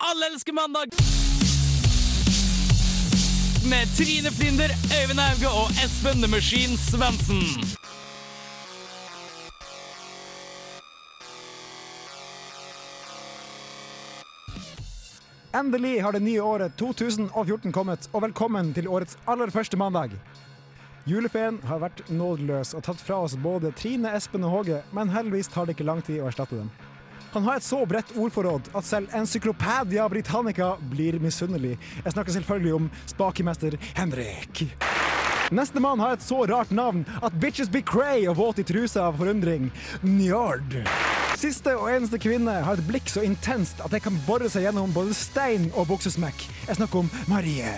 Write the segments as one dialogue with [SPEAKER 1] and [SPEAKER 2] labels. [SPEAKER 1] Alle elsker mandag! Med Trine Flinder, Øyvind Auge og Espen The Machine Svendsen.
[SPEAKER 2] Endelig har det nye året 2014 kommet, og velkommen til årets aller første mandag. Juleferien har vært nådeløs og tatt fra oss både Trine, Espen og Håge, men heldigvis tar det ikke lang tid å erstatte dem. Han har et så bredt ordforråd at selv Encyklopedia Britannica blir misunnelig. Jeg snakker selvfølgelig om spakemester Henrik. Neste mann har et så rart navn at bitches be cray og våt i trusa av forundring. Njord. Siste og eneste kvinne har et blikk så intenst at det kan bore seg gjennom både stein og buksesmekk. Jeg snakker om Marie.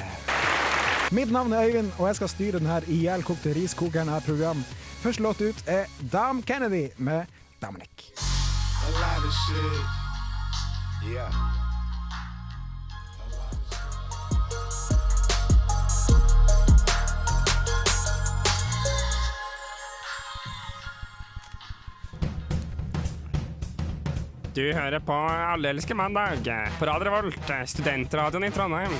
[SPEAKER 2] Mitt navn er Øyvind, og jeg skal styre denne ihjelkokte riskokeren av et program. Første låt ut er Dam Kennedy med Dominic.
[SPEAKER 3] A lot of shit. Yeah.
[SPEAKER 4] Du hører på Allelske mandag på Radio Revolt, studentradioen i Trondheim.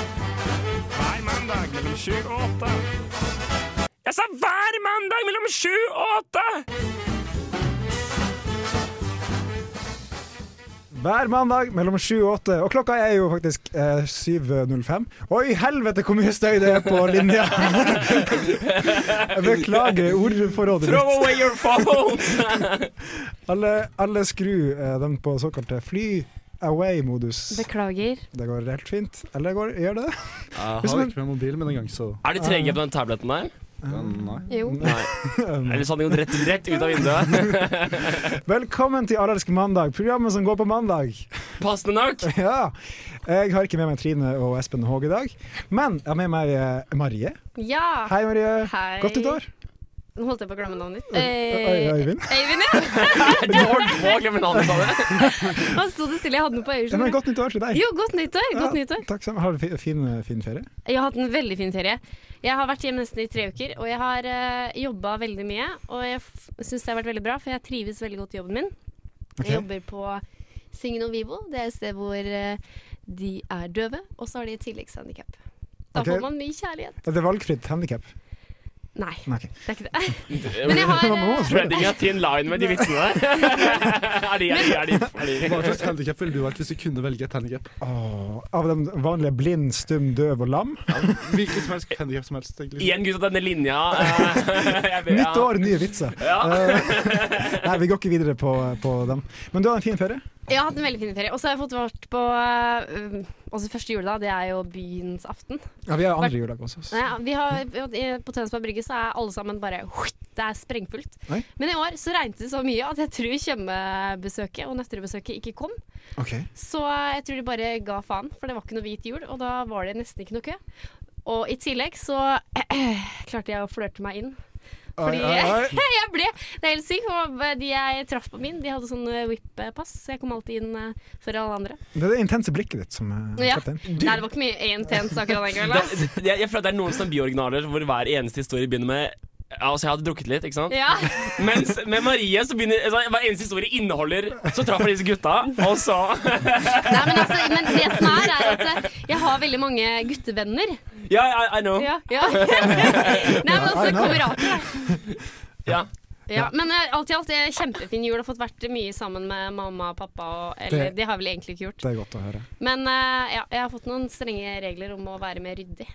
[SPEAKER 4] Hver mandag mellom sju og åtte. Jeg sa hver mandag mellom sju og åtte!
[SPEAKER 2] Hver mandag mellom sju og åtte, og klokka er jo faktisk eh, 7.05. Oi, helvete hvor mye støy det er på linja! Jeg beklager ordforrådet
[SPEAKER 1] Throw
[SPEAKER 2] mitt.
[SPEAKER 1] away your phone!
[SPEAKER 2] Alle, alle skru eh, den på såkalte fly away-modus.
[SPEAKER 5] Beklager.
[SPEAKER 2] Det går helt fint. Eller går, gjør det det?
[SPEAKER 6] Jeg
[SPEAKER 2] Hvis
[SPEAKER 6] har
[SPEAKER 2] man-
[SPEAKER 6] ikke med mobil min engang, så
[SPEAKER 1] er de trege på den tabletten der?
[SPEAKER 6] ja, nei.
[SPEAKER 5] Jo.
[SPEAKER 1] Nei. Ellers hadde de gått rett, rett ut av vinduet.
[SPEAKER 2] Velkommen til Aralsk mandag, programmet som går på mandag.
[SPEAKER 1] Passende nok.
[SPEAKER 2] Ja. Jeg har ikke med meg Trine og Espen og Håge i dag, men jeg har med meg eh, Marie.
[SPEAKER 5] Ja!
[SPEAKER 2] Hei, Marie.
[SPEAKER 5] Hei.
[SPEAKER 2] Godt nytt år.
[SPEAKER 5] Nå holdt jeg på å glemme navnet ditt. Eh,
[SPEAKER 2] Øy- Øyvind.
[SPEAKER 5] Øyvind, ja!
[SPEAKER 1] Du holdt på å glemme navnet på det.
[SPEAKER 5] Han sto det stille, jeg hadde den på
[SPEAKER 2] Ja, men
[SPEAKER 5] øyeskinnet.
[SPEAKER 2] godt nytt år til deg.
[SPEAKER 5] Jo, godt nyttår! Godt
[SPEAKER 2] Ja,
[SPEAKER 5] nyttår.
[SPEAKER 2] Takk sammen. Har du fi- fin, fin ferie?
[SPEAKER 5] Jeg har hatt en veldig fin ferie. Jeg har vært hjemme nesten i tre uker, og jeg har uh, jobba veldig mye. Og jeg syns det har vært veldig bra, for jeg trives veldig godt i jobben min.
[SPEAKER 2] Ok.
[SPEAKER 5] Jeg jobber på Sign og Vivo. Det er et sted hvor eh, de er døve, og så har de et tilleggshandikap. Da
[SPEAKER 2] Ok.
[SPEAKER 5] får man mye kjærlighet.
[SPEAKER 2] Er det valgfritt handikap?
[SPEAKER 5] Nei,
[SPEAKER 2] Nei, ok.
[SPEAKER 5] det er ikke det. Men jeg har eh,
[SPEAKER 1] Treading a thin line med de vitsene der. Er de, er de, er de, er de.
[SPEAKER 6] Hva slags handikap ville du vært hvis du kunne velge et handikap?
[SPEAKER 2] Åh, av den vanlige blind, stum, døv og lam?
[SPEAKER 6] Hvilket som helst handikap som helst. egentlig.
[SPEAKER 1] Igjen, gutta, denne linja. eh, jeg vet-
[SPEAKER 2] Nytt år, nye vitser. Eh, nei, vi går ikke videre på, på dem. Men du har en fin ferie.
[SPEAKER 5] Jeg har hatt en veldig fin ferie. Og så har jeg fått vært på eh, Også første juledag, det er jo byens aften.
[SPEAKER 2] Ja, Vi har andre juledag også.
[SPEAKER 5] Nei, vi har, på Tønsberg Brygge så er alle sammen bare Det er sprengfullt.
[SPEAKER 2] Oi.
[SPEAKER 5] Men i år så regnet det så mye at jeg tror Tjøme-besøket og Nøtterøy-besøket ikke kom.
[SPEAKER 2] Ok.
[SPEAKER 5] Så jeg tror de bare ga faen, for det var ikke noe hvit jul, og da var det nesten ikke noe kø. Og i tillegg så klarte jeg å flørte meg inn. Fordi
[SPEAKER 2] Oi, oi, oi.
[SPEAKER 5] jeg ble Det er helt sykt. for De jeg traff på min, de hadde sånn eh, whip-pass, så jeg kom alltid inn eh, før alle andre.
[SPEAKER 2] Det er det intense blikket ditt som eh, er
[SPEAKER 5] Ja.
[SPEAKER 2] kaptein.
[SPEAKER 5] Nei, det var ikke mye intenst akkurat den kvelden. ass.
[SPEAKER 1] Det, jeg, jeg føler at det er noen sånne bioriginaler hvor hver eneste historie begynner med ja, Altså, jeg hadde drukket litt, ikke sant?
[SPEAKER 5] Ja.
[SPEAKER 1] Mens med Marie så begynner altså, Hver eneste historie inneholder Så traff jeg disse gutta, og så
[SPEAKER 5] Nei, men, altså, men det som er, er at eh, jeg har veldig mange guttevenner.
[SPEAKER 1] Ja, I, I know.
[SPEAKER 5] Ja. ja. Nei, men altså,
[SPEAKER 2] I know.
[SPEAKER 5] kamerater. da.
[SPEAKER 1] Ja.
[SPEAKER 5] Ja, men eh, alt i alt, eh, kjempefin jul. Har fått vært mye sammen med mamma og pappa. Og, eller
[SPEAKER 2] Det-
[SPEAKER 5] de har vel egentlig ikke gjort.
[SPEAKER 2] Det er godt å høre.
[SPEAKER 5] Men eh, ja, jeg har fått noen strenge regler om å være mer ryddig.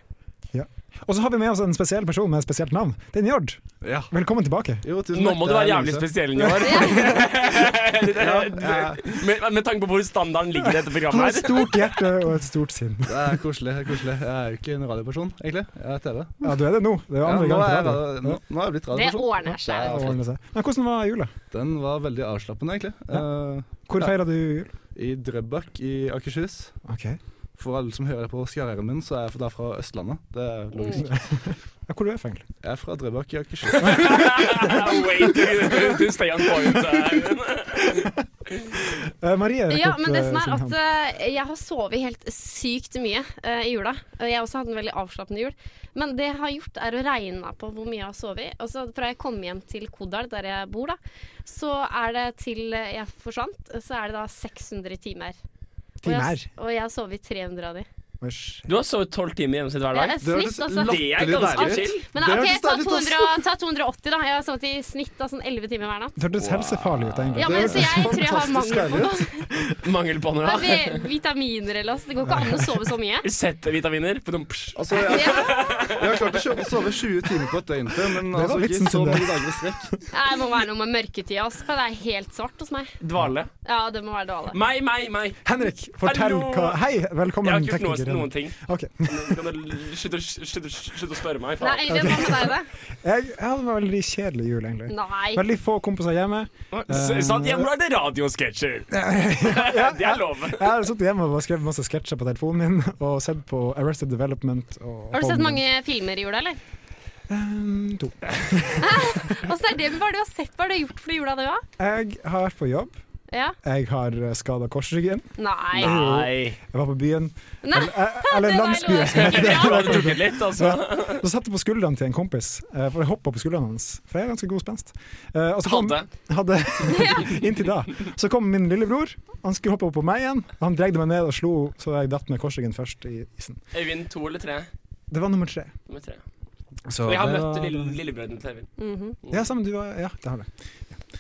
[SPEAKER 2] Ja. Og så har vi med oss en spesiell person med et spesielt navn. Det er Njord.
[SPEAKER 6] Ja.
[SPEAKER 2] Velkommen tilbake.
[SPEAKER 6] Jo, tusen
[SPEAKER 1] Nå
[SPEAKER 6] takk,
[SPEAKER 1] må
[SPEAKER 6] det
[SPEAKER 1] du
[SPEAKER 6] er
[SPEAKER 1] være
[SPEAKER 6] lenge
[SPEAKER 1] jævlig
[SPEAKER 6] siden.
[SPEAKER 1] spesiell i år.
[SPEAKER 6] Ja,
[SPEAKER 1] Med, med tanke på hvor standarden ligger i dette
[SPEAKER 2] Han har
[SPEAKER 1] programmet her.
[SPEAKER 2] et stort hjerte og et stort sinn.
[SPEAKER 6] Det er koselig. det er koselig. Jeg er jo ikke en radioperson, egentlig. Jeg er TV.
[SPEAKER 2] Ja, du er det nå. Det er jo
[SPEAKER 6] Ja,
[SPEAKER 2] andre
[SPEAKER 6] nå, er jeg,
[SPEAKER 2] gang på
[SPEAKER 6] radio- nå,
[SPEAKER 2] radio.
[SPEAKER 6] nå er jeg blitt
[SPEAKER 5] Det
[SPEAKER 6] radioperson.
[SPEAKER 5] ordner
[SPEAKER 6] Ja,
[SPEAKER 5] seg.
[SPEAKER 2] Ja, det ordner seg. Men hvordan var jula?
[SPEAKER 6] Den var veldig avslappende, egentlig. Eh,
[SPEAKER 2] Hvor
[SPEAKER 6] Ja.
[SPEAKER 2] feira du jul?
[SPEAKER 6] I Drøbak i Akershus.
[SPEAKER 2] Ok.
[SPEAKER 6] For alle som hører på skarrieren min, så er jeg fra- da fra Østlandet. Det er
[SPEAKER 5] Mm.
[SPEAKER 6] logisk.
[SPEAKER 2] Ja, hvor du er fra, egentlig?
[SPEAKER 6] Jeg er fra Drøbak i Akershus.
[SPEAKER 1] Way to, to stay on point. eh.
[SPEAKER 2] Eh, Marie rakk
[SPEAKER 5] Ja,
[SPEAKER 2] opp,
[SPEAKER 5] men det som
[SPEAKER 2] eh,
[SPEAKER 5] er
[SPEAKER 2] sin
[SPEAKER 5] at
[SPEAKER 2] hånd.
[SPEAKER 5] eh, jeg har sovet helt sykt mye eh, i jula. Eh, Jeg har også hatt en veldig avslappende jul. Men det jeg har gjort, er å regne på hvor mye jeg har sovet. Og så fra jeg kom hjem til Kodal, der jeg bor, da, så er det til eh, jeg forsvant, så er det da 600 timer. Og jeg,
[SPEAKER 2] Timer.
[SPEAKER 5] og jeg har sovet 300 av de.
[SPEAKER 2] Æsj.
[SPEAKER 1] Du har sovet tolv timer i gjennomsnitt hver
[SPEAKER 5] Det
[SPEAKER 1] dag.
[SPEAKER 5] er snitt, altså.
[SPEAKER 1] Det er ganske chill.
[SPEAKER 5] Men OK, ta, 200, ta 280, da. Jeg har sovet i snitt da, sånn 11 timer hver natt.
[SPEAKER 2] Det hørtes helsefarlig ut, egentlig.
[SPEAKER 5] Ja, men så jeg tror jeg har mangel på noe.
[SPEAKER 1] Mangel på noe.
[SPEAKER 5] Det er vi- Vitaminer eller altså. Det går ikke an å sove så mye.
[SPEAKER 1] Z-vitaminer. Pudum, psj.
[SPEAKER 6] Altså, jeg, jeg har klart å kjø- sove 20 timer på et døgn før, men
[SPEAKER 2] var
[SPEAKER 6] altså,
[SPEAKER 2] vitsen
[SPEAKER 6] ikke så
[SPEAKER 2] sin, det.
[SPEAKER 6] mange dager i strekk.
[SPEAKER 5] Nei, Det må være noe med mørketida, ass, for det er helt svart hos meg.
[SPEAKER 1] Dvale.
[SPEAKER 5] Ja, det må være dårlig.
[SPEAKER 1] Meg, meg, meg.
[SPEAKER 2] Henrik, fortell
[SPEAKER 1] Hallo!
[SPEAKER 2] hva Hei,
[SPEAKER 1] Jeg har
[SPEAKER 2] velkommen,
[SPEAKER 1] ikke gjort
[SPEAKER 2] tekniker.
[SPEAKER 1] noe, noen ting.
[SPEAKER 2] Ok.
[SPEAKER 1] Kan du l- Slutt å slutt å- slutt å spørre meg,
[SPEAKER 5] Nei,
[SPEAKER 1] faen.
[SPEAKER 5] Elvin, hva med deg, da?
[SPEAKER 2] Jeg jeg hadde en veldig kjedelig jul, egentlig.
[SPEAKER 5] Nei.
[SPEAKER 2] Veldig få kompiser hjemme.
[SPEAKER 1] S- Sant? Ja, hvor er det radiosketsjer? Det er lov.
[SPEAKER 2] Jeg har sittet hjemme og bare skrevet masse sketsjer på telefonen min og sett på Arrested Development. Og
[SPEAKER 5] Har du sett
[SPEAKER 2] Home.
[SPEAKER 5] mange filmer i jula, eller?
[SPEAKER 2] Mm, to.
[SPEAKER 5] Åssen er det med hva du har sett? Hva har du gjort for jula, du òg?
[SPEAKER 2] Jeg har vært på jobb.
[SPEAKER 5] Ja?
[SPEAKER 2] Jeg har skada korsryggen.
[SPEAKER 5] Nei.
[SPEAKER 2] Jeg var på byen.
[SPEAKER 5] Nei.
[SPEAKER 2] Eh, Eller
[SPEAKER 5] Det var
[SPEAKER 2] landsbyen.
[SPEAKER 5] lov.
[SPEAKER 2] som heter det.
[SPEAKER 1] Du hadde drukket litt, altså.
[SPEAKER 2] Så satt jeg på skuldrene til en kompis, eh, for jeg hoppa på skuldrene hans. For jeg er ganske god spenst. Eh, Og så kom,
[SPEAKER 1] Hadde.
[SPEAKER 2] hadde Inntil da. Så kom min lillebror. Han skulle hoppe opp på meg igjen. Han dregde meg ned og slo, så jeg datt med korsryggen først i isen.
[SPEAKER 1] Øyvind to eller tre?
[SPEAKER 2] Det var nummer tre.
[SPEAKER 1] Nummer tre.
[SPEAKER 2] Så
[SPEAKER 1] Jeg har
[SPEAKER 2] det
[SPEAKER 1] møtt
[SPEAKER 2] var-
[SPEAKER 1] lille, lillebrødrene til Øyvind.
[SPEAKER 5] Mhm.
[SPEAKER 2] Ja, sammen, du var, ja, det har det.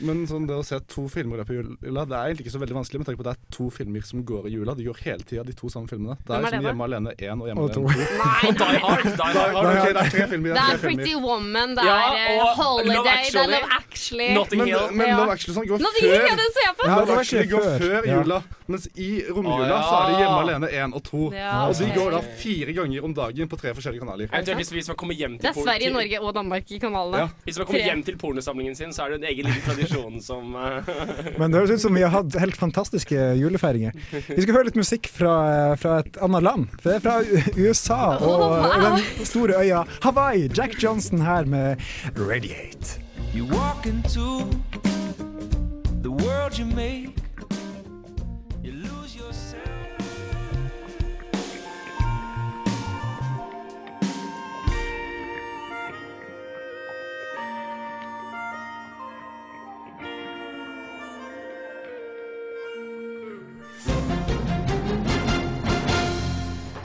[SPEAKER 6] Men sånn, det å se to filmer i løpet av jula, det er egentlig ikke så veldig vanskelig, med tanke på at det er to filmer som går i jula. De går hele tida, de to samme filmene. Det er
[SPEAKER 5] Hvem er det
[SPEAKER 6] liksom
[SPEAKER 5] da?
[SPEAKER 6] Hjemme alene 1 og Hjemme
[SPEAKER 2] Og to.
[SPEAKER 6] alene 2.
[SPEAKER 5] Nei.
[SPEAKER 1] Og Die Hard. Die Hard.
[SPEAKER 6] Ok, det er tre filmer.
[SPEAKER 5] Det
[SPEAKER 6] Det
[SPEAKER 5] er
[SPEAKER 6] er tre filmer.
[SPEAKER 5] Pretty Woman, det
[SPEAKER 1] Ja,
[SPEAKER 5] er eh,
[SPEAKER 1] og
[SPEAKER 5] Holiday,
[SPEAKER 1] Love
[SPEAKER 5] det er
[SPEAKER 1] Actually.
[SPEAKER 5] Love Actually.
[SPEAKER 1] Notting
[SPEAKER 6] Men,
[SPEAKER 1] Hill.
[SPEAKER 6] men
[SPEAKER 5] Ja.
[SPEAKER 6] Love Actually sånn, går
[SPEAKER 5] Nå
[SPEAKER 6] før
[SPEAKER 5] driver jeg den ser jeg på!
[SPEAKER 2] Ja, det
[SPEAKER 6] Love
[SPEAKER 2] var
[SPEAKER 6] Actually
[SPEAKER 2] ikke
[SPEAKER 6] går
[SPEAKER 2] før.
[SPEAKER 6] før
[SPEAKER 2] Ja.
[SPEAKER 6] jula, mens i romjula
[SPEAKER 1] Å, ja.
[SPEAKER 6] så er det Hjemme alene 1 og 2.
[SPEAKER 5] Ja,
[SPEAKER 6] Og de
[SPEAKER 5] ok.
[SPEAKER 6] går da fire ganger om dagen på tre forskjellige kanaler.
[SPEAKER 1] Eventuelt hvis- hvis man kommer hjem til
[SPEAKER 5] Det er Sverige,
[SPEAKER 1] til-
[SPEAKER 5] Norge og Danmark i
[SPEAKER 6] Ja.
[SPEAKER 5] kanalene.
[SPEAKER 1] Hvis man kommer
[SPEAKER 5] Tre.
[SPEAKER 1] hjem til pornosamlingen sin, så er det en egen liten tradisjon som eh,
[SPEAKER 2] Men det høres ut som vi har hatt helt fantastiske julefeiringer. Vi skal høre litt musikk fra, fra et annet land. Det er fra U- USA og
[SPEAKER 5] Oh, wow.
[SPEAKER 2] den store øya Hawaii. Jack Johnson her med Radiate.
[SPEAKER 7] You walk into the world you make. You lose yourself.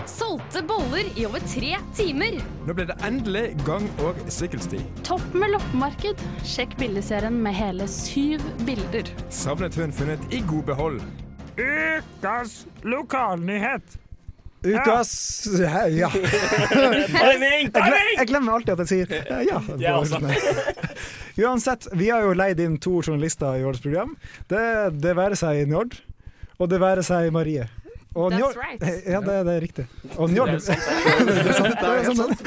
[SPEAKER 5] Solgte boller i over tre timer.
[SPEAKER 8] Nå ble det endelig gang- og sykkelsti.
[SPEAKER 9] Topp med loppemarked. Sjekk bildeserien med hele syv bilder.
[SPEAKER 8] Savnet hun funnet i god behold.
[SPEAKER 4] Ukas lokalnyhet.
[SPEAKER 2] Ukas ja. ja.
[SPEAKER 1] Timing!
[SPEAKER 2] Jeg, glem,
[SPEAKER 1] Timing!
[SPEAKER 2] jeg glemmer alltid at jeg sier eh, ja. på
[SPEAKER 1] Jeg også.
[SPEAKER 2] slutten. sånn. Uansett, vi har jo leid inn to journalister i årets program. Det, det være seg Njord, og det være seg Marie. Og
[SPEAKER 5] That's
[SPEAKER 2] Njord- Eh,
[SPEAKER 5] right.
[SPEAKER 2] Ja, det, det er riktig. Og Njord,
[SPEAKER 1] Det er sant.
[SPEAKER 2] Det er sant, det er sant.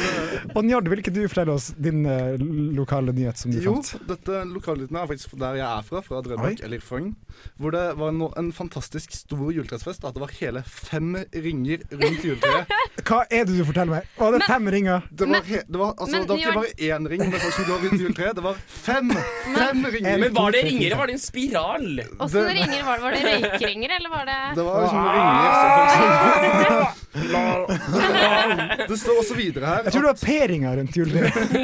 [SPEAKER 2] Og Njord, vil ikke du fortelle oss din eh, lokale nyhet som du
[SPEAKER 6] Jo,
[SPEAKER 2] fant?
[SPEAKER 6] dette lokalnyheten er faktisk der jeg er fra, fra Drøbak, eller Frogn. Hvor det var en, en fantastisk stor juletrefest. At det var hele fem ringer rundt juletreet.
[SPEAKER 2] Hva er det du forteller meg? Å, det er fem ringer.
[SPEAKER 6] Det var, he, det var, altså, det
[SPEAKER 5] men
[SPEAKER 6] var ikke
[SPEAKER 5] Jørn-
[SPEAKER 6] bare én ring med folk som går rundt juletreet. Det var fem! Fem ringer!
[SPEAKER 1] Men var det ringer, eller var det en spiral?
[SPEAKER 5] Åssen ringer var det? Var det røykringer, eller var det
[SPEAKER 6] Det var liksom ringer som folk- Det står også videre her
[SPEAKER 2] Jeg tror det var P-ringer rundt juletreet.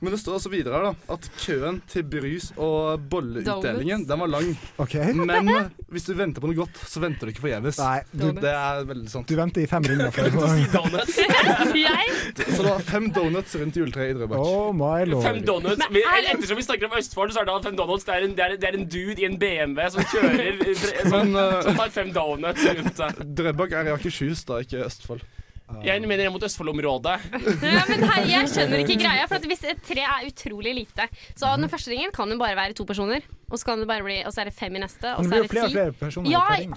[SPEAKER 6] Men det står også videre her da at køen til brus- og bolleutdelingen Den var lang.
[SPEAKER 2] OK?
[SPEAKER 6] Men hvis du venter på noe godt, så venter du ikke forgjeves.
[SPEAKER 2] Nei, du,
[SPEAKER 6] Det er veldig sant.
[SPEAKER 2] du venter i fem ringer. For.
[SPEAKER 1] Donuts.
[SPEAKER 5] Jeg?
[SPEAKER 6] Så det var fem donuts rundt juletreet i Drøbak.
[SPEAKER 2] Oh my
[SPEAKER 1] Fem
[SPEAKER 2] lord.
[SPEAKER 1] donuts. Vi, ettersom vi snakker om Østfold, så er det at fem donuts Det er en, det er, det er en dude i en BMW som kjører Som,
[SPEAKER 6] Men eh,
[SPEAKER 1] som tar fem donuts rundt seg.
[SPEAKER 6] Drøbak er i Akershus, da, ikke Østfold.
[SPEAKER 1] Jeg mener jeg mot Østfold-området.
[SPEAKER 5] Ja, men hei, jeg skjønner ikke greia. For at hvis et tre er utrolig lite Så den første ringen kan jo bare være to personer. Og så, kan det bare bli, og så er det fem i neste, og
[SPEAKER 2] Men det
[SPEAKER 5] så
[SPEAKER 2] blir
[SPEAKER 5] Altså,
[SPEAKER 2] jo flere og flere
[SPEAKER 5] er det ti.
[SPEAKER 2] personer.
[SPEAKER 5] Ja,
[SPEAKER 2] per ring.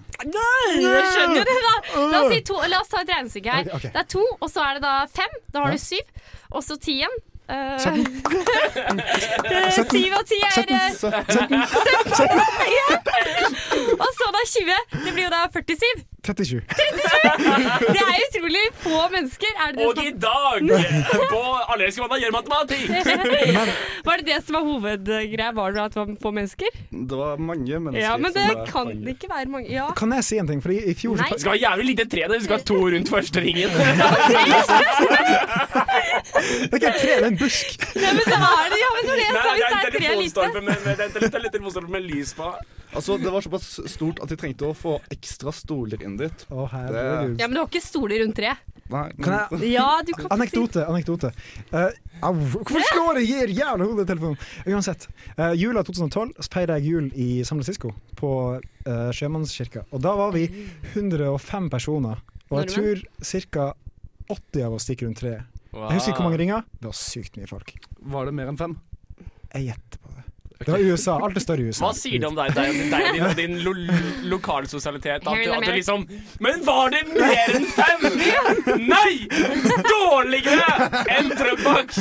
[SPEAKER 5] Jeg skjønner jo det, da. La oss, si to, la oss ta et regnestykke her.
[SPEAKER 2] Ok, ok.
[SPEAKER 5] Det er to, og så er det da fem. Da har du syv. Og så ti igjen. Eh,
[SPEAKER 2] Sytten.
[SPEAKER 5] eh, Syv av ti er eh,
[SPEAKER 2] Sytten.
[SPEAKER 5] 17. Ja. Og så da 20. Det blir jo da 47.
[SPEAKER 2] 37.
[SPEAKER 5] Det er utrolig få mennesker. Er det
[SPEAKER 1] Og
[SPEAKER 5] det
[SPEAKER 1] i dag, på Alle elsker mandag, gjør matematikk!
[SPEAKER 5] som, var det det som var hovedgreia? Var det at det var få mennesker?
[SPEAKER 6] Det var mange mennesker.
[SPEAKER 5] Ja, men det
[SPEAKER 6] som var-
[SPEAKER 5] kan ikke være mange. Ja.
[SPEAKER 2] Kan jeg si en ting? Fordi i fjor så
[SPEAKER 5] Nei.
[SPEAKER 1] Vi skal ha jævlig lite tre der, vi skal ha to rundt første ringen.
[SPEAKER 2] Det er ikke et tre, det er en busk.
[SPEAKER 5] Nei, men så er det, ja, men når det er
[SPEAKER 1] Nei,
[SPEAKER 5] sagt,
[SPEAKER 1] det er
[SPEAKER 5] så
[SPEAKER 1] en
[SPEAKER 5] er det tre lite.
[SPEAKER 1] telefonstolpe med, med, det er en tele- det er en telefonstolpe med lys på.
[SPEAKER 6] Altså, Det var såpass stort at de trengte å få ekstra stoler inn dit.
[SPEAKER 2] Å, herregud.
[SPEAKER 5] Ja, men du har ikke stoler rundt tre.
[SPEAKER 6] Nei,
[SPEAKER 2] Kan jeg
[SPEAKER 5] Ja, du kan
[SPEAKER 2] Anekdote, anekdote. Eh, au, hvorfor slår jeg gir jævla hodetelefonen? Uansett. eh, jula 2012 så feira jeg jul i San Francisco, på eh, sjømannskirka. Og da var vi 105 personer. Og jeg tror ca. 80 av oss gikk rundt treet. Jeg husker ikke hvor mange ringer. Det var sykt mye folk.
[SPEAKER 6] Var det mer enn fem?
[SPEAKER 2] Jeg gjetter på det. Det var USA. Alt er større i
[SPEAKER 1] Hva
[SPEAKER 2] USA.
[SPEAKER 1] sier det om deg, deg, deg og din, og din lo lo- lokalsosialitet? At,
[SPEAKER 5] Harry
[SPEAKER 1] du- at du
[SPEAKER 5] Lamar.
[SPEAKER 1] liksom Men var det mer enn fem?! Nei! Dårligere enn Trøbakk!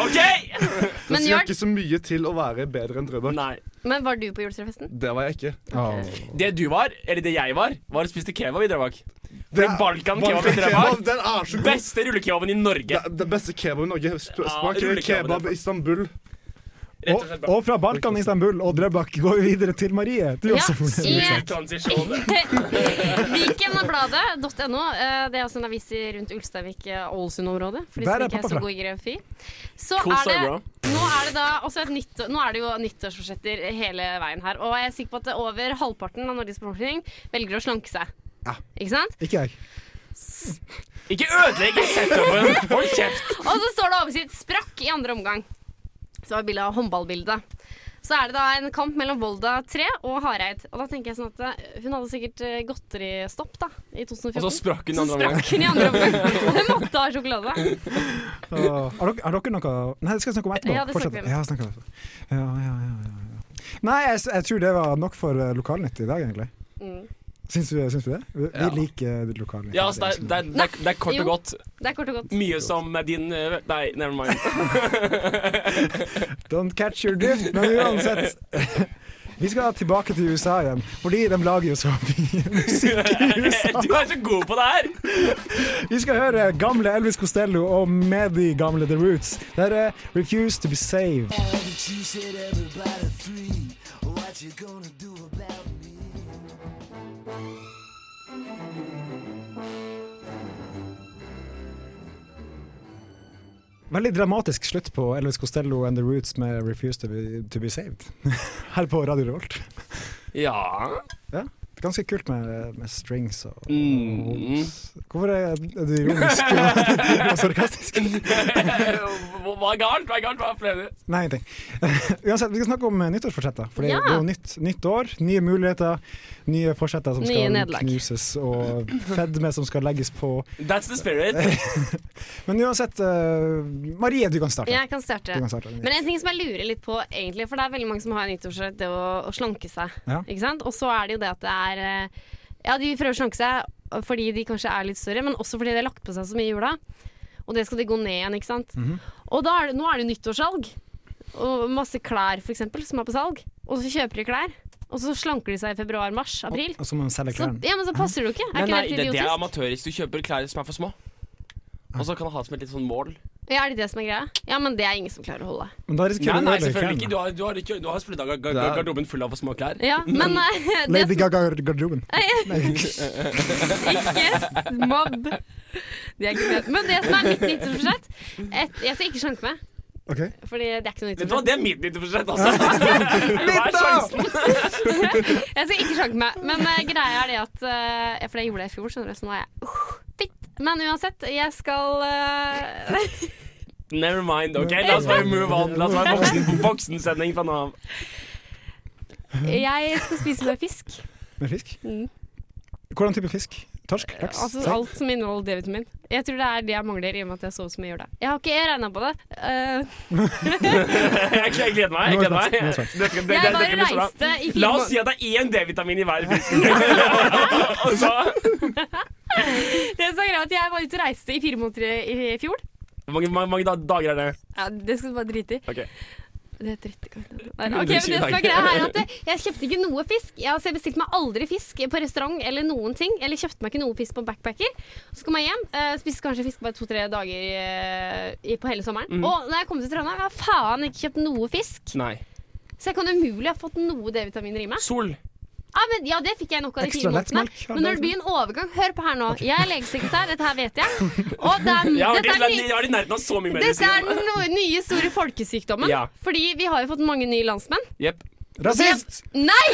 [SPEAKER 1] OK!
[SPEAKER 5] Men
[SPEAKER 6] Det sier
[SPEAKER 5] Jørn-
[SPEAKER 6] ikke så mye til å være bedre enn Drøbak.
[SPEAKER 1] Nei.
[SPEAKER 5] Men var du på juletrefesten?
[SPEAKER 6] Det var jeg ikke.
[SPEAKER 2] Å.
[SPEAKER 1] Det du var, eller det jeg var, var å spise kebab i Drøbak. Det er Balkan kebab i
[SPEAKER 6] Kebab,
[SPEAKER 1] Drøbak.
[SPEAKER 6] den er så god!
[SPEAKER 1] Beste rullekebaben i Norge.
[SPEAKER 6] Det er Den beste kebaben i Norge. Sp- Smak
[SPEAKER 1] rullekebaben.
[SPEAKER 6] kebab Istanbul.
[SPEAKER 1] Rett og
[SPEAKER 2] Og,
[SPEAKER 1] slett bra.
[SPEAKER 2] og fra Balkan, Istanbul og Drøbak går vi videre til Marie. Du
[SPEAKER 5] Ja, Eh,
[SPEAKER 2] også får
[SPEAKER 5] i-
[SPEAKER 2] lese.
[SPEAKER 1] Transisjon.
[SPEAKER 5] Vikenbladet.no. eh, Det er også en avis i rundt Ulsteinvik, eh, Ålesund-området. For de
[SPEAKER 2] Der
[SPEAKER 5] som
[SPEAKER 2] er
[SPEAKER 5] ikke
[SPEAKER 2] pappa
[SPEAKER 5] er så
[SPEAKER 2] fra.
[SPEAKER 5] gode i geografi. Så
[SPEAKER 1] Cool
[SPEAKER 5] er
[SPEAKER 1] story,
[SPEAKER 5] det
[SPEAKER 1] bro.
[SPEAKER 5] Nå er det da også et nytt, Nå er det jo nyttårsforsetter hele veien her. Og jeg er sikker på at over halvparten av Norges befolkning velger å slanke seg. Ikke sant?
[SPEAKER 2] Ikke jeg.
[SPEAKER 1] Ikke ødelegg setupen! Hold kjeft!
[SPEAKER 5] Og så står det oversikt 'sprakk' i andre omgang. Så var bildet av håndballbildet. Så er det da en kamp mellom Volda 3 og Hareid. Og da tenker jeg sånn at eh, hun hadde sikkert eh, godteristopp da, i 2014.
[SPEAKER 1] Og så sprakk hun
[SPEAKER 5] Så
[SPEAKER 1] andre omgang.
[SPEAKER 5] sprakk hun i andre omgang. Hun måtte ha sjokolade.
[SPEAKER 2] Å, Har dere, har dere noe Nei, det skal jeg snakke om etterpå.
[SPEAKER 5] Ja, det snakker vi om.
[SPEAKER 2] Ja, snakker vi om. etterpå. Ja, ja, ja, ja, ja. Nei, jeg, s- jeg tror det var nok for eh, Lokalnytt i dag, egentlig.
[SPEAKER 5] Mm.
[SPEAKER 2] Syns vi, syns vi det? Vi, vi liker eh, Lokalnytt.
[SPEAKER 1] Ja, altså, det, er, det, er, det, er, det er kort og
[SPEAKER 5] Jo.
[SPEAKER 1] godt.
[SPEAKER 5] Det er kort og godt.
[SPEAKER 1] Mye som din eh, Nei, never mind.
[SPEAKER 2] Don't catch your drift, men uansett. Vi skal tilbake til USA igjen, fordi de lager jo så mye musikk i USA.
[SPEAKER 1] Du er så god på det her!
[SPEAKER 2] Vi skal høre gamle Elvis Costello og med de gamle The Roots. Det er eh, Refuse To Be Saved. Veldig dramatisk slutt på Elvis Costello and The Roots med 'Refuse to Be, to be Saved' her på Radio Revolt.
[SPEAKER 1] Ja
[SPEAKER 2] Ja, det er ganske kult med, med strings og
[SPEAKER 1] Mm.
[SPEAKER 2] Hvorfor er er du ironisk og- og sarkastisk?
[SPEAKER 1] Hva er galt? Hva er galt? Hva er flere?
[SPEAKER 2] Nei, ingenting. Uansett, vi skal snakke om eh, nyttårsforsetter. For det
[SPEAKER 5] Ja.
[SPEAKER 2] det er jo nytt, nytt år, nye muligheter, nye forsetter som
[SPEAKER 5] Nye
[SPEAKER 2] skal
[SPEAKER 5] nederlag.
[SPEAKER 2] knuses, og fedme som skal legges på.
[SPEAKER 1] That's the spirit.
[SPEAKER 2] Men uansett, eh, Marie, du kan starte.
[SPEAKER 5] Jeg kan starte.
[SPEAKER 2] Du kan starte.
[SPEAKER 5] Men en ting som jeg lurer litt på, egentlig, for det er veldig mange som har nyttårsrett, det å, å slanke seg.
[SPEAKER 2] Ja.
[SPEAKER 5] Ikke sant? Og så er det jo det at det er eh, Ja, de prøver å slanke seg fordi de kanskje er litt større, men også fordi de har lagt på seg så mye i jula. Og det skal de gå ned igjen, ikke sant.
[SPEAKER 2] Mhm.
[SPEAKER 5] Og da er det, nå er det nyttårssalg. Og masse klær, for eksempel, som er på salg. Og så kjøper de klær. Og så slanker de seg i februar, mars, april.
[SPEAKER 2] Og så må man selge
[SPEAKER 5] Så,
[SPEAKER 2] klærne.
[SPEAKER 5] ja, men så passer det jo ikke. Er
[SPEAKER 1] Men
[SPEAKER 5] ikke
[SPEAKER 1] nei,
[SPEAKER 5] det helt
[SPEAKER 1] det, det er
[SPEAKER 5] idiotisk?
[SPEAKER 1] amatørisk. Du kjøper klær som er for små. Og så kan du ha det som et litt sånn mål.
[SPEAKER 5] Ja, er det det som er greia? Ja, men det er ingen som klarer å holde.
[SPEAKER 2] Men da
[SPEAKER 1] Nei,
[SPEAKER 2] risikerer du å
[SPEAKER 1] nei,
[SPEAKER 2] ødelegge
[SPEAKER 1] selvfølgelig ikke. Du
[SPEAKER 2] klærne.
[SPEAKER 1] har, du har, ikke- du har selvfølgelig da gar-
[SPEAKER 6] Det
[SPEAKER 1] gar-
[SPEAKER 6] er-
[SPEAKER 1] garderoben full av for små klær.
[SPEAKER 5] Ja, men eh, det
[SPEAKER 2] Lady Gaga-garderoben.
[SPEAKER 5] Ikke mobb. Det er ikke pent. Men det som er mitt nyttårsforsett et- Jeg skal ikke slanke meg,
[SPEAKER 2] Ok.
[SPEAKER 5] Fordi det er ikke noe
[SPEAKER 1] Vet du hva,
[SPEAKER 5] nyttårsforsett.
[SPEAKER 1] det er mitt nyttårsforsett, altså. Hva er sjansen?
[SPEAKER 5] Jeg skal ikke slanke meg. Men eh, greia er det at eh, For det gjorde jeg i fjor, skjønner du, så nå er jeg uh, fitt. Men uansett, jeg skal eh,
[SPEAKER 1] Never mind. OK, la oss bare move on. La oss være voksen, voksensending fra nå av.
[SPEAKER 5] Jeg skal spise mer fisk.
[SPEAKER 2] Med fisk?
[SPEAKER 5] Mm.
[SPEAKER 2] Hvordan type fisk? Torsk? Laks?
[SPEAKER 5] Altså
[SPEAKER 2] Sei?
[SPEAKER 5] alt som inneholder D-vitamin. Jeg tror det er det jeg mangler, i og med at jeg sov så mye i jula. Jeg har ikke regna på det. Eh,
[SPEAKER 1] Jeg jeg gleder meg. jeg gleder meg
[SPEAKER 2] Nå er det svart,
[SPEAKER 1] Dette- dette-
[SPEAKER 5] jeg
[SPEAKER 1] dette
[SPEAKER 5] bare
[SPEAKER 1] blir så bra.
[SPEAKER 5] reiste i fire
[SPEAKER 1] La oss
[SPEAKER 5] måneder.
[SPEAKER 1] si at det er én D-vitamin i hver fisk. Altså, Og så
[SPEAKER 5] Det som er greia er at Jeg var ute og reiste i fire måneder i i fjor.
[SPEAKER 4] Hvor mange, mange, mange da- dager er det?
[SPEAKER 5] Ja, det skal du bare drite i.
[SPEAKER 4] Ok.
[SPEAKER 5] Det driter ikke jeg i. Nei,
[SPEAKER 4] Det
[SPEAKER 5] ok, men
[SPEAKER 4] er
[SPEAKER 5] det som er
[SPEAKER 4] ikke-
[SPEAKER 5] greia her er at Jeg kjøpte ikke noe fisk. Jeg altså, jeg bestilte meg aldri fisk på restaurant eller noen ting. Eller kjøpte meg ikke noe fisk på backpacker. Så kom jeg hjem, eh, spiste kanskje fisk bare to-tre dager eh, i- på hele sommeren. Og når jeg kom til Trondheim, har jeg faen ikke kjøpt noe fisk.
[SPEAKER 4] Nei.
[SPEAKER 5] Så jeg kan umulig ha fått noe D-vitaminer i meg.
[SPEAKER 4] Sol.
[SPEAKER 5] Ja, men, ja, det fikk jeg nok av de
[SPEAKER 2] Ekstra
[SPEAKER 5] fire månedene.
[SPEAKER 2] lettmelk, ja,
[SPEAKER 5] Men når
[SPEAKER 2] det-
[SPEAKER 5] det blir en overgang Hør på her nå. Jeg er legesekretær, dette her vet jeg. Og det er,
[SPEAKER 4] Jeg har vært
[SPEAKER 5] dette
[SPEAKER 4] i
[SPEAKER 5] er
[SPEAKER 4] land- jeg har vært i nærheten av så mye
[SPEAKER 5] dette er
[SPEAKER 4] medisin.
[SPEAKER 5] den no- nye store folkesykdommen.
[SPEAKER 4] Ja.
[SPEAKER 5] Fordi vi har jo fått mange nye landsmenn.
[SPEAKER 4] Jepp.
[SPEAKER 2] Rasist!
[SPEAKER 5] Nei!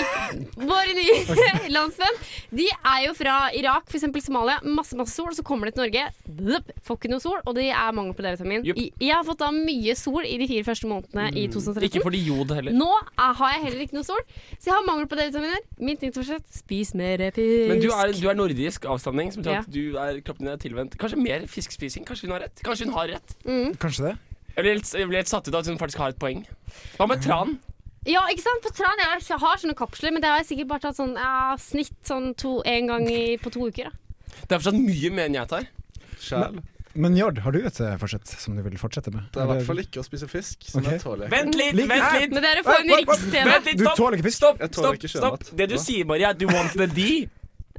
[SPEAKER 5] Våre nye landsmenn. De er jo fra Irak, f.eks. Somalia. Masse masse sol. Så kommer de til Norge, Blup, får ikke noe sol, og det er mangel på D-vitamin.
[SPEAKER 4] Jupp. Mm,
[SPEAKER 5] I- Jeg har fått da mye sol i de fire første månedene i 2013.
[SPEAKER 4] Ikke fordi jod heller.
[SPEAKER 5] Nå er, har jeg heller ikke noe sol, så jeg har mangel på D-vitaminer. Mitt nyttårsforsett spis mer fisk.
[SPEAKER 4] Men du er, du er nordisk avstamning, som betyr
[SPEAKER 5] Ja.
[SPEAKER 4] at du er, kroppen din er tilvendt. Kanskje mer fiskspising? Kanskje hun har rett? Kanskje hun har rett?
[SPEAKER 5] Mm.
[SPEAKER 2] Kanskje det.
[SPEAKER 4] Jeg blir helt, jeg blir helt satt ut av at hun faktisk har et poeng. Hva med tran?
[SPEAKER 5] Ja, ikke sant? For tran, jeg har- har sånne kapsler, men det har jeg sikkert bare tatt sånn ja, snitt sånn to, en gang i, på to uker. Da.
[SPEAKER 4] Det er fortsatt mye mer enn jeg tar.
[SPEAKER 6] Sjæl.
[SPEAKER 2] Men Njord, har du et eh, forsett som du vil fortsette med?
[SPEAKER 6] Det er i hvert fall ikke å spise fisk, som
[SPEAKER 2] Ok.
[SPEAKER 6] jeg tåler.
[SPEAKER 4] Vent litt,
[SPEAKER 2] Ligg-
[SPEAKER 4] vent litt!
[SPEAKER 5] Men dere får en rikstv.
[SPEAKER 4] Vent litt,
[SPEAKER 2] Du
[SPEAKER 4] stopp!
[SPEAKER 2] tåler ikke fisk?
[SPEAKER 4] Stopp!
[SPEAKER 6] Jeg tåler
[SPEAKER 4] stopp,
[SPEAKER 6] ikke
[SPEAKER 4] stopp.
[SPEAKER 6] sjømat.
[SPEAKER 4] Det du
[SPEAKER 6] Hva?
[SPEAKER 4] sier, Marie, er du want the D.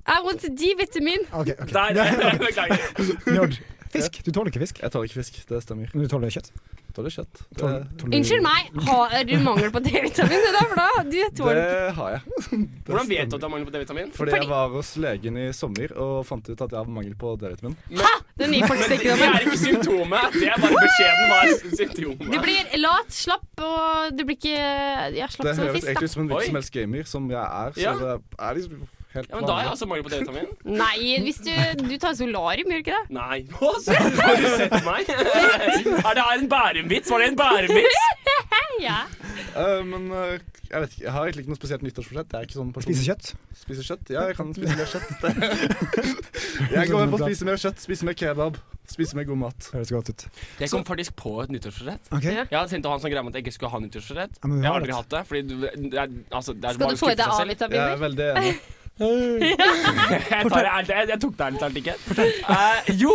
[SPEAKER 5] I want D-vitamin.
[SPEAKER 2] Ok, ok.
[SPEAKER 4] Der, der, beklager.
[SPEAKER 2] Njord, fisk. Du tåler ikke fisk.
[SPEAKER 6] Jeg tåler ikke fisk, det stemmer.
[SPEAKER 2] Men du tåler kjøtt?
[SPEAKER 6] Tåler kjøtt. Det,
[SPEAKER 2] Tåler, tåler...
[SPEAKER 5] Unnskyld meg, har du mangel på D-vitamin? Det der, for da, du tåler
[SPEAKER 6] det
[SPEAKER 5] ikke
[SPEAKER 6] har jeg.
[SPEAKER 4] Hvordan vet du at du har mangel på D-vitamin?
[SPEAKER 6] Fordi
[SPEAKER 5] Fordi-
[SPEAKER 6] jeg var hos legen i sommer og fant ut at jeg har mangel på D-vitamin.
[SPEAKER 5] Ah, den nye
[SPEAKER 4] Det det
[SPEAKER 5] folkesykdommen.
[SPEAKER 4] er ikke symptomet. Det er bare beskjeden hva er
[SPEAKER 5] Du
[SPEAKER 4] symptomet.
[SPEAKER 5] blir lat, slapp og du blir ikke ja, slapp
[SPEAKER 6] Det
[SPEAKER 5] som en
[SPEAKER 6] høres
[SPEAKER 5] fisk. Da.
[SPEAKER 6] egentlig ut som en
[SPEAKER 4] Oi.
[SPEAKER 6] hvilken som helst gamer som jeg er, så
[SPEAKER 4] Ja.
[SPEAKER 6] det er liksom helt
[SPEAKER 4] Ja, men da har jeg
[SPEAKER 6] vanlig.
[SPEAKER 4] altså mangel på D-vitamin.
[SPEAKER 5] Nei, hvis du, du tar solarium, gjør du ikke det?
[SPEAKER 4] Nei. Hva så- Har du sett meg? Er det her en Bærum-vits? Var det en Bærum-vits?
[SPEAKER 5] Ja.
[SPEAKER 6] Eh, men eh, jeg vet ikke, jeg har egentlig ikke noe spesielt nyttårsforsett. Jeg er ikke sånn person.
[SPEAKER 2] Spise kjøtt?
[SPEAKER 6] Spiser kjøtt? Ja, jeg kan spise mer kjøtt. Det- jeg går med på å spise mer kjøtt, spise mer kebab, spise mer god mat.
[SPEAKER 2] Høres godt ut.
[SPEAKER 4] Jeg kom faktisk på et nyttårsforsett.
[SPEAKER 2] Ok,
[SPEAKER 5] Ja.
[SPEAKER 4] Jeg hadde tenkt å ha en sånn greie om at jeg ikke skulle ha nyttårsforsett.
[SPEAKER 2] Ja, men vi har
[SPEAKER 4] Jeg har aldri
[SPEAKER 2] det.
[SPEAKER 4] hatt det. Fordi du, det er, altså, det er
[SPEAKER 5] Skal
[SPEAKER 4] bare
[SPEAKER 5] du få i deg
[SPEAKER 4] å skuffe seg selv.
[SPEAKER 6] Jeg er
[SPEAKER 5] A-vitaminer?
[SPEAKER 6] veldig enig.
[SPEAKER 4] Jeg, tar det ærlig, jeg, jeg tok det ærlig talt ikke. Eh, jo,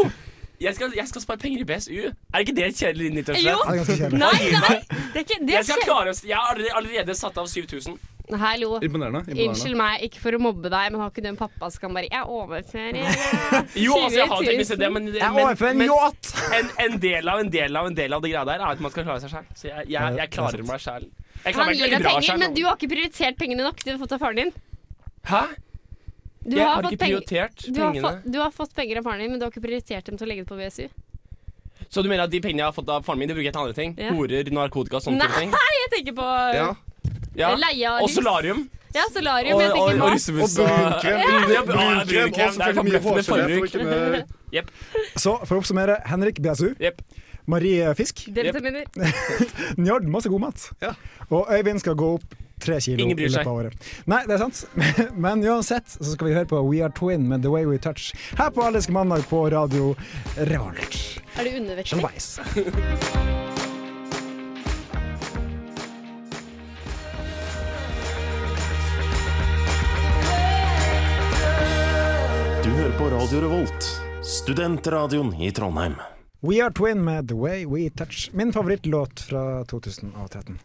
[SPEAKER 4] jeg skal, jeg skal spare penger i BSU. Er ikke det et kjedelig
[SPEAKER 5] Jo.
[SPEAKER 4] nyttårsforsett?
[SPEAKER 2] det er ganske kjedelig.
[SPEAKER 5] Nei, nei! Det er ikke det
[SPEAKER 4] Jeg skal
[SPEAKER 5] skjer.
[SPEAKER 4] klare å s- Jeg har allerede, allerede satt av 7000.
[SPEAKER 5] Hallo.
[SPEAKER 6] Imponerende.
[SPEAKER 5] Unnskyld
[SPEAKER 6] imponerende.
[SPEAKER 5] meg, ikke for å mobbe deg, men har ikke du en pappa som kan bare Jeg overfører
[SPEAKER 4] Jo, altså, jeg har tenkt det, men,
[SPEAKER 2] Jeg må
[SPEAKER 4] men,
[SPEAKER 2] for en
[SPEAKER 4] men
[SPEAKER 2] yacht!
[SPEAKER 4] en, en del av en del av en del av det greia der er at man skal klare seg sjæl. Så jeg, jeg, jeg klarer meg sjæl. Jeg klarer
[SPEAKER 5] Han
[SPEAKER 4] meg
[SPEAKER 5] gir deg
[SPEAKER 4] ikke veldig bra
[SPEAKER 5] penger,
[SPEAKER 4] selv
[SPEAKER 5] men du
[SPEAKER 4] nå.
[SPEAKER 5] har ikke prioritert pengene nok du har fått av faren din.
[SPEAKER 4] Hæ?
[SPEAKER 5] Du
[SPEAKER 4] Jeg
[SPEAKER 5] har
[SPEAKER 4] har
[SPEAKER 5] fått penger
[SPEAKER 4] ikke prioritert
[SPEAKER 5] du har,
[SPEAKER 4] pengene.
[SPEAKER 5] fått, du har fått penger av faren din, men du har ikke prioritert dem til å legge det på BSU.
[SPEAKER 4] Så du mener at de pengene jeg har fått av faren min, de bruker jeg til andre ting?
[SPEAKER 5] Ja.
[SPEAKER 4] Horer, narkotika, sånne
[SPEAKER 5] Nei,
[SPEAKER 4] type ting?
[SPEAKER 5] jeg tenker på eh,
[SPEAKER 6] Ja.
[SPEAKER 4] Ja.
[SPEAKER 5] leie av
[SPEAKER 4] Og
[SPEAKER 5] hus.
[SPEAKER 4] solarium.
[SPEAKER 5] Ja, solarium.
[SPEAKER 4] Og,
[SPEAKER 5] jeg
[SPEAKER 4] og,
[SPEAKER 5] tenker
[SPEAKER 4] og
[SPEAKER 5] mat.
[SPEAKER 6] Og
[SPEAKER 4] russebuss.
[SPEAKER 6] brunkrem.
[SPEAKER 4] Ja,
[SPEAKER 6] Brun-
[SPEAKER 4] ja,
[SPEAKER 6] Brunkrem
[SPEAKER 4] brunkrem,
[SPEAKER 6] og selvfølgelig mye
[SPEAKER 4] forbløffende
[SPEAKER 6] hårgelé for å
[SPEAKER 4] forbruk.
[SPEAKER 6] kunne
[SPEAKER 2] Så for å oppsummere, Henrik BSU,
[SPEAKER 4] Jepp.
[SPEAKER 2] Marie Fisk,
[SPEAKER 5] D-vitaminer.
[SPEAKER 2] Njord masse god mat.
[SPEAKER 6] Ja.
[SPEAKER 2] Og Øyvind skal gå opp tre kilo i
[SPEAKER 4] Ingen bryr
[SPEAKER 2] løpet
[SPEAKER 4] seg.
[SPEAKER 2] av året. Nei, det er sant. Men uansett så skal vi høre på We Are Twin med The Way We Touch her på Allerske mandag på radio Revolt.
[SPEAKER 5] Er du undervektig?
[SPEAKER 2] Shalabais.
[SPEAKER 10] Du hører på Radio Revolt, studentradioen i Trondheim.
[SPEAKER 2] We Are Twin med The Way We Touch. Min favorittlåt fra 2013.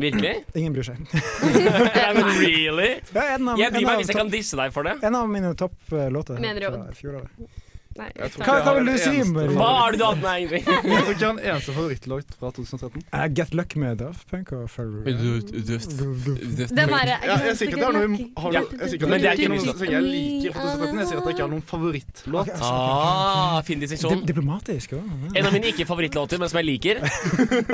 [SPEAKER 4] Virkelig?
[SPEAKER 2] Ingen bryr seg.
[SPEAKER 4] Ja, men really?
[SPEAKER 2] Det er en av,
[SPEAKER 4] Jeg bryr
[SPEAKER 2] en
[SPEAKER 4] meg
[SPEAKER 2] av,
[SPEAKER 4] hvis jeg kan disse deg for det.
[SPEAKER 2] topp- en av mine topplåter
[SPEAKER 5] Mener du-
[SPEAKER 2] fra fjoråret.
[SPEAKER 5] Nei,
[SPEAKER 6] Jeg tror
[SPEAKER 2] Hva,
[SPEAKER 6] ikke
[SPEAKER 2] hva
[SPEAKER 6] jeg
[SPEAKER 2] vil du
[SPEAKER 6] har
[SPEAKER 2] si,
[SPEAKER 6] en eneste
[SPEAKER 2] Marie?
[SPEAKER 4] Hva har du hatt, nei, egentlig?
[SPEAKER 6] Jeg tror ikke jeg har en eneste favorittlåt fra 2013.
[SPEAKER 2] Eh, Get Luck med Daft Punk og Ferrari.
[SPEAKER 5] Den derre
[SPEAKER 6] Ja, jeg sier ikke at jeg har noe har
[SPEAKER 4] Ja.
[SPEAKER 6] noe- jeg sier ikke at jeg
[SPEAKER 4] Men det er
[SPEAKER 6] liker
[SPEAKER 4] ikke
[SPEAKER 6] noen
[SPEAKER 4] min
[SPEAKER 6] sanger jeg liker fra 2013. Jeg sier at jeg ikke har noen favorittlåt.
[SPEAKER 4] Ah, fin
[SPEAKER 2] Di-
[SPEAKER 4] distinksjon.
[SPEAKER 2] Diplomatisk òg.
[SPEAKER 4] En av mine ikke-favorittlåter, men som jeg liker,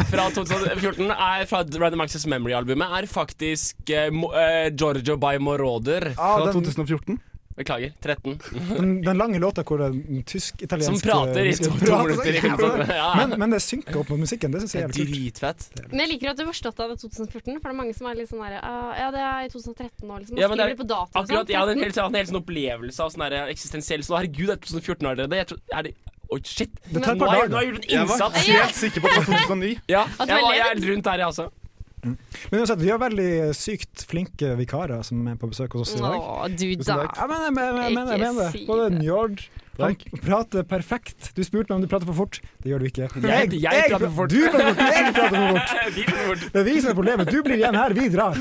[SPEAKER 4] fra 2014, er fra Random Access Memory-albumet, er faktisk eh, Mo- eh, Giorgio by Moroder.
[SPEAKER 6] Fra
[SPEAKER 2] Ah, den,
[SPEAKER 6] 2014.
[SPEAKER 4] Beklager, 13.
[SPEAKER 2] den, den lange låta hvor den tysk-italienske
[SPEAKER 4] Som prater i
[SPEAKER 2] eh,
[SPEAKER 4] to, to minutter. ikke sant? Ja.
[SPEAKER 2] Men, men det synker opp mot musikken. Det syns
[SPEAKER 4] Det
[SPEAKER 2] jeg
[SPEAKER 4] er
[SPEAKER 2] er kult.
[SPEAKER 4] dritfett.
[SPEAKER 5] Men jeg liker at du har forstått av det 2014, for det er mange som er litt sånn derre «Ah, Ja, det er i 2013 nå, liksom. Man
[SPEAKER 4] Ja, men det
[SPEAKER 5] skriver
[SPEAKER 4] er-
[SPEAKER 5] det på dato. og
[SPEAKER 4] Akkurat,
[SPEAKER 5] sånn.
[SPEAKER 4] Jeg hadde en helt, jeg hadde en helt sånn opplevelse av sånn der eksistensiell sånn Herregud, det er 2014 allerede. Jeg tror, er det, Oi, shit.
[SPEAKER 2] Det tar et
[SPEAKER 4] Nå
[SPEAKER 2] par
[SPEAKER 4] har jeg
[SPEAKER 2] dager.
[SPEAKER 4] nå har jeg gjort en
[SPEAKER 6] Jeg var
[SPEAKER 4] innsats.
[SPEAKER 6] helt sikker på at det var 2009.
[SPEAKER 4] Ja,
[SPEAKER 5] At
[SPEAKER 4] jeg,
[SPEAKER 5] du er
[SPEAKER 4] var, jeg
[SPEAKER 5] eleven.
[SPEAKER 4] er rundt der, jeg altså. også.
[SPEAKER 2] Men uansett, vi har veldig sykt flinke vikarer som er på besøk hos oss i dag.
[SPEAKER 5] Å, du
[SPEAKER 6] Tusen
[SPEAKER 5] da.
[SPEAKER 6] takk.
[SPEAKER 2] Ja, men jeg mener, jeg mener, jeg mener det.
[SPEAKER 5] Ikke si
[SPEAKER 2] Både
[SPEAKER 5] det.
[SPEAKER 2] Njord Han prater perfekt. Du spurte meg om du prater for fort. Det gjør du ikke.
[SPEAKER 4] Jeg- jeg
[SPEAKER 2] pra-
[SPEAKER 4] prater for fort.
[SPEAKER 2] Du prater for fort. Jeg prater for fort.
[SPEAKER 1] Vi blir bort.
[SPEAKER 2] Det er vi som er problemet. Du blir igjen her, vi drar.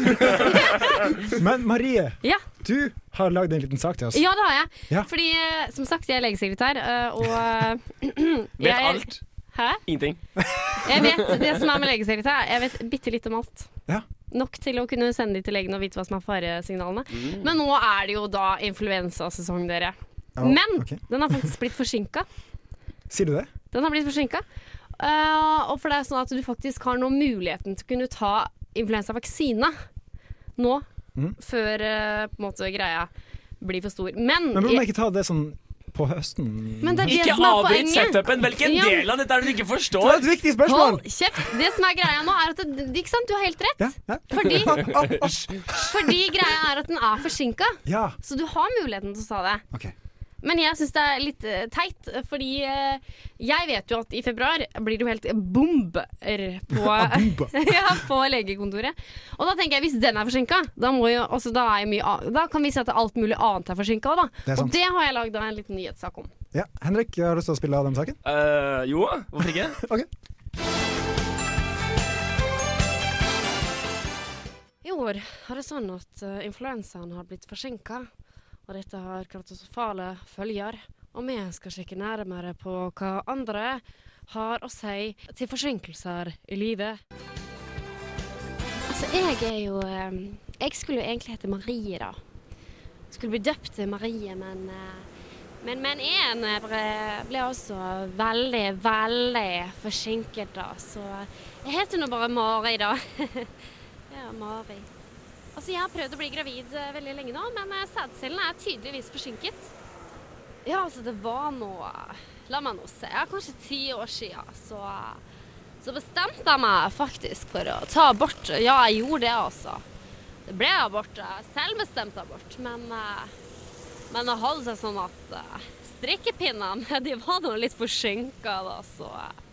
[SPEAKER 2] Men Marie,
[SPEAKER 5] Ja.
[SPEAKER 2] du har lagd en liten sak til oss.
[SPEAKER 5] Ja, det har jeg.
[SPEAKER 2] Ja.
[SPEAKER 5] Fordi, eh, som sagt, jeg er legesekretær, eh, og eh,
[SPEAKER 4] Vet
[SPEAKER 5] jeg-
[SPEAKER 4] alt.
[SPEAKER 5] Hæ?
[SPEAKER 4] Ingenting.
[SPEAKER 5] Jeg vet det som er med legesekretær, er jeg vet bitte litt om alt.
[SPEAKER 2] Ja.
[SPEAKER 5] Nok til å kunne sende de til legen og vite hva som er faresignalene.
[SPEAKER 4] Mm.
[SPEAKER 5] Men nå er det jo da influensasesong, dere.
[SPEAKER 2] Ja,
[SPEAKER 5] Men
[SPEAKER 2] ok.
[SPEAKER 5] den har faktisk blitt forsinka.
[SPEAKER 2] Sier du det?
[SPEAKER 5] Den har blitt forsinka. Eh, og for det er sånn at du faktisk har nå muligheten til å kunne ta influensavaksine nå,
[SPEAKER 2] Mm.
[SPEAKER 5] før eh, på en måte greia blir for stor. Men,
[SPEAKER 2] Men burde man ikke ta det sånn på høsten?
[SPEAKER 5] men det er det
[SPEAKER 4] Ikke
[SPEAKER 5] som er
[SPEAKER 4] avbryt
[SPEAKER 5] poenget.
[SPEAKER 4] setupen. Hvilken
[SPEAKER 5] Ja.
[SPEAKER 4] del av dette er det du ikke
[SPEAKER 2] Det var
[SPEAKER 4] forstår?
[SPEAKER 2] et viktig
[SPEAKER 5] Hold
[SPEAKER 2] spørsmål!
[SPEAKER 5] kjeft! Det som er greia nå, er at det, Ikke sant, du har helt rett.
[SPEAKER 2] Ja, ja.
[SPEAKER 5] Fordi,
[SPEAKER 2] Ah, asj.
[SPEAKER 5] fordi greia er at den er forsinka,
[SPEAKER 2] ja.
[SPEAKER 5] så du har muligheten til å ta det.
[SPEAKER 2] Ok.
[SPEAKER 5] Men jeg syns det er litt eh, teit, fordi eh, jeg vet jo at i februar blir det jo helt bomber på, ja, på legekontoret. Og da tenker jeg hvis den er forsinka, da, må jo- altså, da, er jo mye an- da kan vi si at alt mulig annet er forsinka òg, da.
[SPEAKER 2] Det er sant.
[SPEAKER 5] og det har jeg lagd en liten nyhetssak om.
[SPEAKER 2] Ja. Henrik, har du lyst til å spille av den saken?
[SPEAKER 4] Eh, jo, hvorfor ikke?
[SPEAKER 2] Ok.
[SPEAKER 5] I år er det sånn at eh, influensaen har blitt forsinka, og dette har katastrofale følger. Og vi skal sjekke nærmere på hva andre har å si til forsinkelser i livet. Altså, jeg er jo eh, Jeg skulle jo egentlig hete Marie, da. Skulle bli døpt til Marie, men eh, men, men en eh, ble- ble også veldig, veldig forsinket, da. Så jeg heter nå bare Mari, da. Ja, Mari. Altså, jeg har prøvd å bli gravid eh, veldig lenge nå, men eh, sædcellene er tydeligvis forsinket. Ja, altså, det var nå eh, La meg nå se. Ja, kanskje ti år siden, så eh, Så bestemte jeg meg faktisk for å ta abort. Ja, jeg gjorde det, altså. Det ble abort. eh, Selvbestemt abort. Men eh, Men det holdt seg sånn at eh, strikkepinnene, de var nå litt forsinka, da, så eh,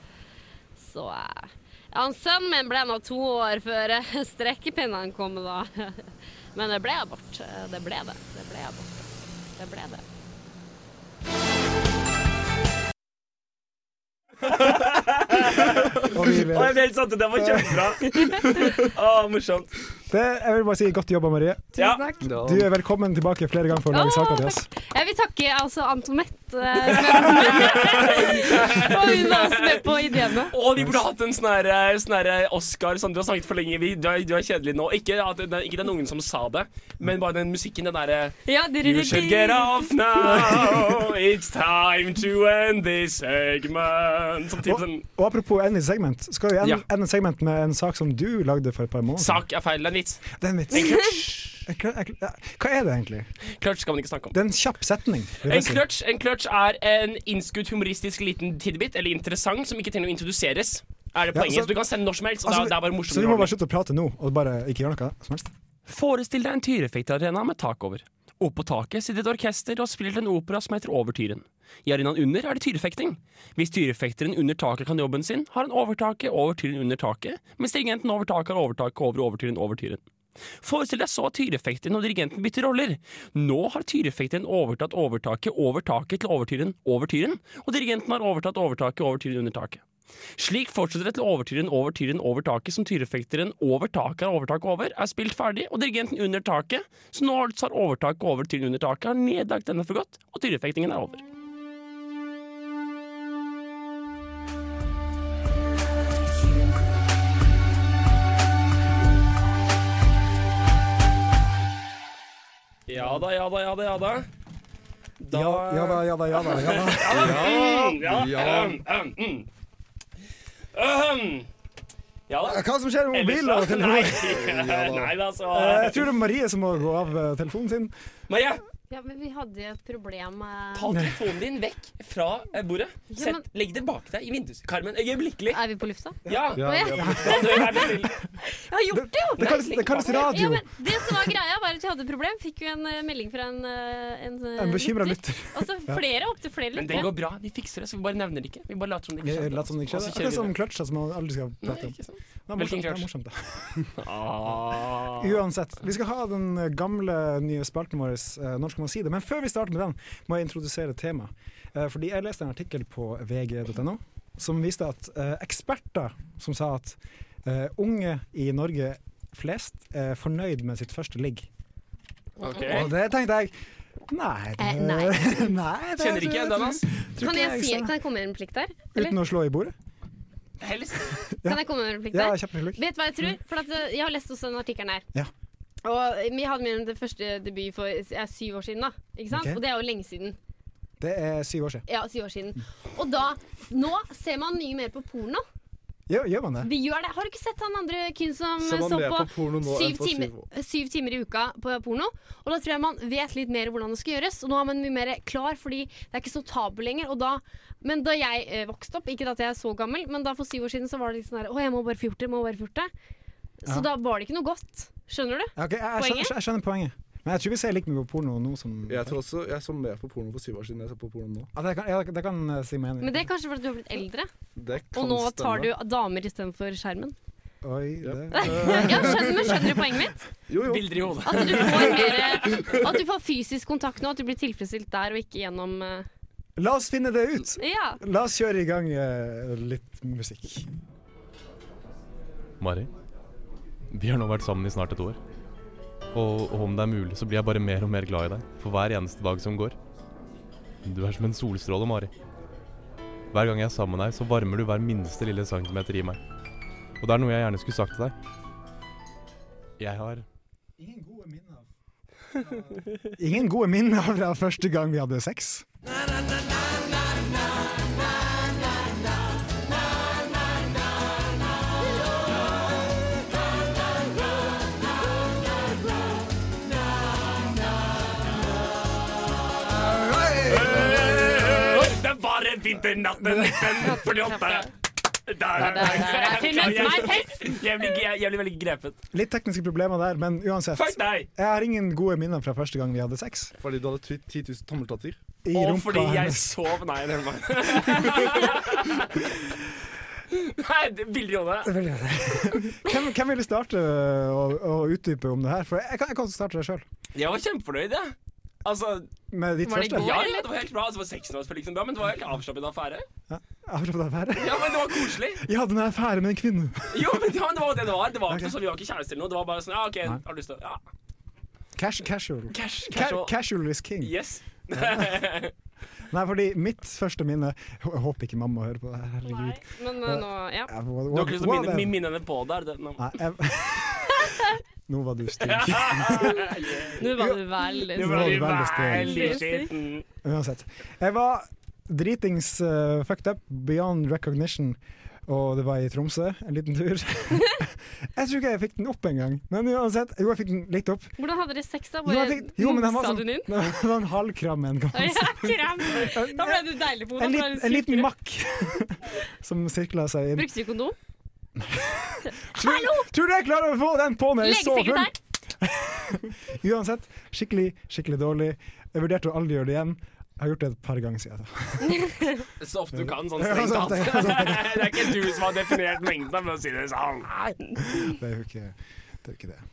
[SPEAKER 5] så eh, ja, han sønnen min ble nå to år før eh, strekkepinnene kom, da. Men det ble abort. Eh, Det ble det. Det ble abort. Det ble det.
[SPEAKER 2] Og vi
[SPEAKER 4] Å, jeg
[SPEAKER 2] vil.
[SPEAKER 4] ble helt satt ut. Det var kjempebra. Å, morsomt.
[SPEAKER 2] Det, jeg vil bare si godt jobba, Marie.
[SPEAKER 4] Ja.
[SPEAKER 2] Du er velkommen tilbake flere ganger for å lage
[SPEAKER 5] Åh,
[SPEAKER 2] saker til oss.
[SPEAKER 5] Jeg vil takke altså Antonette, eh, som jeg var med Og hun var også med på ideene.
[SPEAKER 4] Å, de burde hatt en sånn her, sånn her Oscar sånn, Du har snakket for lenge, vi, du, er, du er kjedelig nå. Ikke, at den, ikke den ungen som sa det, men bare den musikken, den derre
[SPEAKER 5] Ja, du,
[SPEAKER 4] You should get off now, it's time to end this segment. Sånn type sånn
[SPEAKER 2] Og apropos end i segment, skal vi ende,
[SPEAKER 4] Ja.
[SPEAKER 2] ende segment med en sak som du lagde for et par måneder
[SPEAKER 4] Sak er feil, det er en vits.
[SPEAKER 2] Det er en vits.
[SPEAKER 4] En clutch.
[SPEAKER 2] Jeg kl- jeg kl- ja, Hva er det egentlig?
[SPEAKER 4] Clutch skal man ikke snakke om.
[SPEAKER 2] Det er en kjapp setning. vil jeg
[SPEAKER 4] En
[SPEAKER 2] si.
[SPEAKER 4] clutch, en clutch er en innskutt humoristisk liten tidbit, eller interessant, som ikke trenger å introduseres. Er det
[SPEAKER 2] Ja,
[SPEAKER 4] poenget?
[SPEAKER 2] så-
[SPEAKER 4] så, du kan sende når som helst, og
[SPEAKER 2] Altså,
[SPEAKER 4] det, er, det er bare morsomt.
[SPEAKER 2] så vi må bare
[SPEAKER 4] underholdning.
[SPEAKER 2] slutte å prate nå, og bare ikke gjøre noe som helst?
[SPEAKER 4] Forestill deg en tyrefektarena med tak over. Oppå taket sitter et orkester og spiller en opera som heter Overtyren. I arenaen under er det tyrefekting. Hvis tyrefekteren under taket kan jobben sin, har han overtaket over tyren under taket, mens dirigenten over taket har overtaket over overtyren over tyren. Forestill deg så at tyrefekteren og dirigenten bytter roller. Nå har tyrefekteren overtatt overtaket over taket til overtyren over tyren, og dirigenten har overtatt overtaket over tyren under taket. Slik fortsetter det til overtyren over tyren over taket, som tyrefekteren over taket har overtaket over, er spilt ferdig, og dirigenten under taket, som nå altså har overtaket over tyren under taket, har nedlagt denne for godt, og tyrefektingen er over. Ja da, ja da, ja da, ja da.
[SPEAKER 2] Ja, ja da, ja da, ja da. Ja, da.
[SPEAKER 4] Ja,
[SPEAKER 6] Ja.
[SPEAKER 4] ahem, ahem, mm. Ahem. Ja da.
[SPEAKER 2] Hva som skjer med
[SPEAKER 4] Ellers
[SPEAKER 2] mobilen og
[SPEAKER 4] da-
[SPEAKER 2] telefonen?
[SPEAKER 4] Nei, nei da, altså. så
[SPEAKER 2] Eh, Jeg tror det er Marie som må gå av eh, telefonen sin.
[SPEAKER 4] Marie,
[SPEAKER 5] Ja, men vi hadde et problem eh,
[SPEAKER 4] ta telefonen din vekk fra eh, bordet.
[SPEAKER 5] Ja, men-
[SPEAKER 4] Sett, legg den bak deg i vinduskarmen øyeblikkelig.
[SPEAKER 5] Er vi på lufta?
[SPEAKER 4] Ja,
[SPEAKER 5] Å, ja.
[SPEAKER 4] da dør verden stille.
[SPEAKER 5] Jeg har gjort det, jo!
[SPEAKER 2] Det kalles, det kalles
[SPEAKER 5] Ja,
[SPEAKER 2] radio.
[SPEAKER 5] men det som var greia, var at vi hadde et problem. Fikk jo en eh, melding fra en, eh, en, eh,
[SPEAKER 2] En bekymra lytter.
[SPEAKER 5] Altså flere, opptil flere
[SPEAKER 4] Men det går bra. Vi fikser det, så vi bare nevner det ikke. Vi bare later som det sånn ikke
[SPEAKER 2] Jeg
[SPEAKER 4] skjedde.
[SPEAKER 2] Lat som det sånn, ikke
[SPEAKER 4] Og så
[SPEAKER 2] skjedde.
[SPEAKER 4] kjører
[SPEAKER 2] Akkurat
[SPEAKER 4] vi
[SPEAKER 2] som
[SPEAKER 4] videre.
[SPEAKER 2] clutch, da, som man aldri skal prate
[SPEAKER 4] Nei,
[SPEAKER 2] om.
[SPEAKER 4] ikke sant.
[SPEAKER 2] Det er
[SPEAKER 4] Hvilken
[SPEAKER 2] morsomt, det er
[SPEAKER 4] clutch?
[SPEAKER 2] morsomt, da.
[SPEAKER 4] Ah.
[SPEAKER 2] Uansett, vi skal ha den gamle nye spalten vår, eh, Norsk må si det. Men før vi starter med den, må jeg introdusere temaet. Eh, Fordi jeg leste en artikkel på vg.no som viste at eh, eksperter som sa at eh, unge i Norge flest er fornøyd med sitt første ligg.
[SPEAKER 1] Ok.
[SPEAKER 2] Og det tenkte jeg Nei. Det,
[SPEAKER 5] Eh, nei.
[SPEAKER 2] nei det-
[SPEAKER 1] Kjenner ikke igjen den, ass.
[SPEAKER 2] tror
[SPEAKER 5] Kan
[SPEAKER 2] ikke
[SPEAKER 5] jeg,
[SPEAKER 2] jeg
[SPEAKER 5] si,
[SPEAKER 2] sa-
[SPEAKER 5] kan jeg komme med en replikk der? Eller?
[SPEAKER 2] Uten å slå i bordet?
[SPEAKER 1] Helst.
[SPEAKER 5] Kan jeg komme med en replikk
[SPEAKER 2] Ja,
[SPEAKER 5] der?
[SPEAKER 2] kjempehyggelig.
[SPEAKER 5] Vet du hva jeg tror? For at, eh, jeg har lest også den artikkelen her.
[SPEAKER 2] Ja.
[SPEAKER 5] Og eh, vi hadde min det første debut for ja, syv år siden, da. Ikke sant?
[SPEAKER 2] Ok.
[SPEAKER 5] Og det er jo lenge siden.
[SPEAKER 2] Det er syv år siden.
[SPEAKER 5] Ja, syv år siden. Og da Nå ser man mye mer på porno.
[SPEAKER 2] Gjør, gjør man det?
[SPEAKER 5] Vi gjør det. Har du ikke sett han andre kyn som
[SPEAKER 6] Ser man
[SPEAKER 5] så
[SPEAKER 6] mer
[SPEAKER 5] på,
[SPEAKER 6] på porno nå enn
[SPEAKER 5] syv,
[SPEAKER 6] for syv
[SPEAKER 5] timer, syv timer i uka på porno? Og da tror jeg man vet litt mer hvordan det skal gjøres. Og nå er man mye mer klar, fordi det er ikke så tabu lenger. Og da, men da jeg eh, vokste opp, ikke at jeg er så gammel, men da for syv år siden så var det litt sånn her Å, jeg må bare fjorte, jeg må bare fjorte. Så
[SPEAKER 2] Ja.
[SPEAKER 5] da var det ikke noe godt. Skjønner du?
[SPEAKER 2] Ja, ok, jeg, jeg, skjønner, jeg skjønner poenget. Men jeg tror vi ser like mye på porno nå som
[SPEAKER 6] Jeg tror også jeg så mer på porno for syv år siden enn jeg ser på porno nå.
[SPEAKER 2] ja, det, kan, ja, det kan eh, si meg enig.
[SPEAKER 5] Men det er kanskje fordi du har blitt eldre,
[SPEAKER 6] Det kan
[SPEAKER 5] og nå tar du
[SPEAKER 6] stemme.
[SPEAKER 5] damer istedenfor skjermen.
[SPEAKER 2] Oi,
[SPEAKER 6] Ja.
[SPEAKER 2] det.
[SPEAKER 5] Ja, skjønner, men skjønner du poenget mitt?
[SPEAKER 6] Jo, jo.
[SPEAKER 4] Bilder i hodet.
[SPEAKER 5] At du får, mer, at du får fysisk kontakt nå, at du blir tilfredsstilt der og ikke gjennom eh,
[SPEAKER 2] La oss finne det ut!
[SPEAKER 5] Ja.
[SPEAKER 2] La oss kjøre i gang eh, litt musikk.
[SPEAKER 11] Mari, vi har nå vært sammen i snart et år. Og, og om det er mulig, så blir jeg bare mer og mer glad i deg for hver eneste dag som går. Du er som en solstråle, Mari. Hver gang jeg er sammen med deg, så varmer du hver minste lille centimeter i meg. Og det er noe jeg gjerne skulle sagt til deg. Jeg har
[SPEAKER 2] Ingen gode minner. Ingen gode minner fra første gang vi hadde sex.
[SPEAKER 1] Det var en vinternatten 1948. Der, der,
[SPEAKER 5] Jeg finner ut meg fest!
[SPEAKER 4] Jeg blir, jeg, jeg blir veldig grepet.
[SPEAKER 2] Litt tekniske problemer der, men uansett.
[SPEAKER 1] Fuck deg!
[SPEAKER 2] Jeg har ingen gode minner fra første gang vi hadde sex.
[SPEAKER 6] Fordi du hadde 10 000 tommeltotter.
[SPEAKER 2] I
[SPEAKER 4] Og
[SPEAKER 2] rumpa
[SPEAKER 4] fordi jeg
[SPEAKER 2] hennes.
[SPEAKER 4] sov Nei, det var Nei, det- bilder i hodet.
[SPEAKER 2] Hvem, hvem ville starte å, å utdype om det her? For jeg kan, jeg kan starte det sjøl.
[SPEAKER 4] Jeg var kjempefornøyd, jeg. Altså,
[SPEAKER 2] Med ditt
[SPEAKER 5] Var det
[SPEAKER 2] første.
[SPEAKER 5] god?
[SPEAKER 4] ja, ja, det var helt bra. Altså, det var sexen var liksom bra, men det var helt avslappet affære.
[SPEAKER 2] Apropos affære.
[SPEAKER 4] Ja, men det var koselig.
[SPEAKER 2] Jeg hadde en affære med en kvinne.
[SPEAKER 4] Jo, men ja, men det var jo det det var. Det var ikke
[SPEAKER 2] Ok.
[SPEAKER 4] sånn, Vi var ikke kjærester eller noe. Det var bare sånn, ja, OK,
[SPEAKER 2] Nei.
[SPEAKER 4] har du lyst til å Ja,
[SPEAKER 2] Cash, casual.
[SPEAKER 4] cash,
[SPEAKER 2] Ca-
[SPEAKER 4] cash og
[SPEAKER 2] Casual is king.
[SPEAKER 4] Yes.
[SPEAKER 2] Nei, fordi mitt første minne Jeg håper ikke mamma hører på det her, herregud.
[SPEAKER 5] Men eh, nå, ja.
[SPEAKER 2] Jeg- hva-
[SPEAKER 4] Du har ikke lyst til å
[SPEAKER 2] hva-
[SPEAKER 4] minne,
[SPEAKER 2] hva-
[SPEAKER 4] minne henne på det? er det- nå.
[SPEAKER 2] Nei, jeg... Nå var du stygg.
[SPEAKER 5] Nå var du veldig
[SPEAKER 2] Nå
[SPEAKER 5] snill.
[SPEAKER 2] var du veldig stygg.
[SPEAKER 5] veldig
[SPEAKER 4] skitten.
[SPEAKER 2] Uansett. Jeg var dritings eh, fucked up beyond recognition, og det var i Tromsø. En liten tur. jeg tror ikke jeg fikk den opp engang, men uansett. Jo, jeg fikk den litt opp.
[SPEAKER 5] Hvordan hadde dere sex, da?
[SPEAKER 2] Jo, jeg
[SPEAKER 5] Bare
[SPEAKER 2] fikk, jo men den var
[SPEAKER 5] mosa
[SPEAKER 2] sånn
[SPEAKER 5] du den inn?
[SPEAKER 2] Det var en halvkram en gang.
[SPEAKER 5] Ja, kram. Da ble du deilig på
[SPEAKER 2] En
[SPEAKER 5] hodet.
[SPEAKER 2] liten, en liten makk som sirkla seg inn.
[SPEAKER 5] Brukte du kondom?
[SPEAKER 2] Tror, tror du jeg klarer å få den på når jeg er så full?
[SPEAKER 5] Legesekretær?
[SPEAKER 2] Uansett, skikkelig, skikkelig dårlig. Jeg vurderte å aldri gjøre det igjen. Jeg har gjort det et par ganger siden. da.
[SPEAKER 4] Så ofte du kan, sånn
[SPEAKER 2] Ja,
[SPEAKER 4] strengt
[SPEAKER 2] så
[SPEAKER 4] tatt.
[SPEAKER 2] ofte jeg kan, så ofte
[SPEAKER 4] Det er ikke du som har definert mengden, for å si det sånn.
[SPEAKER 2] Det er jo ikke det. Er jo ikke det.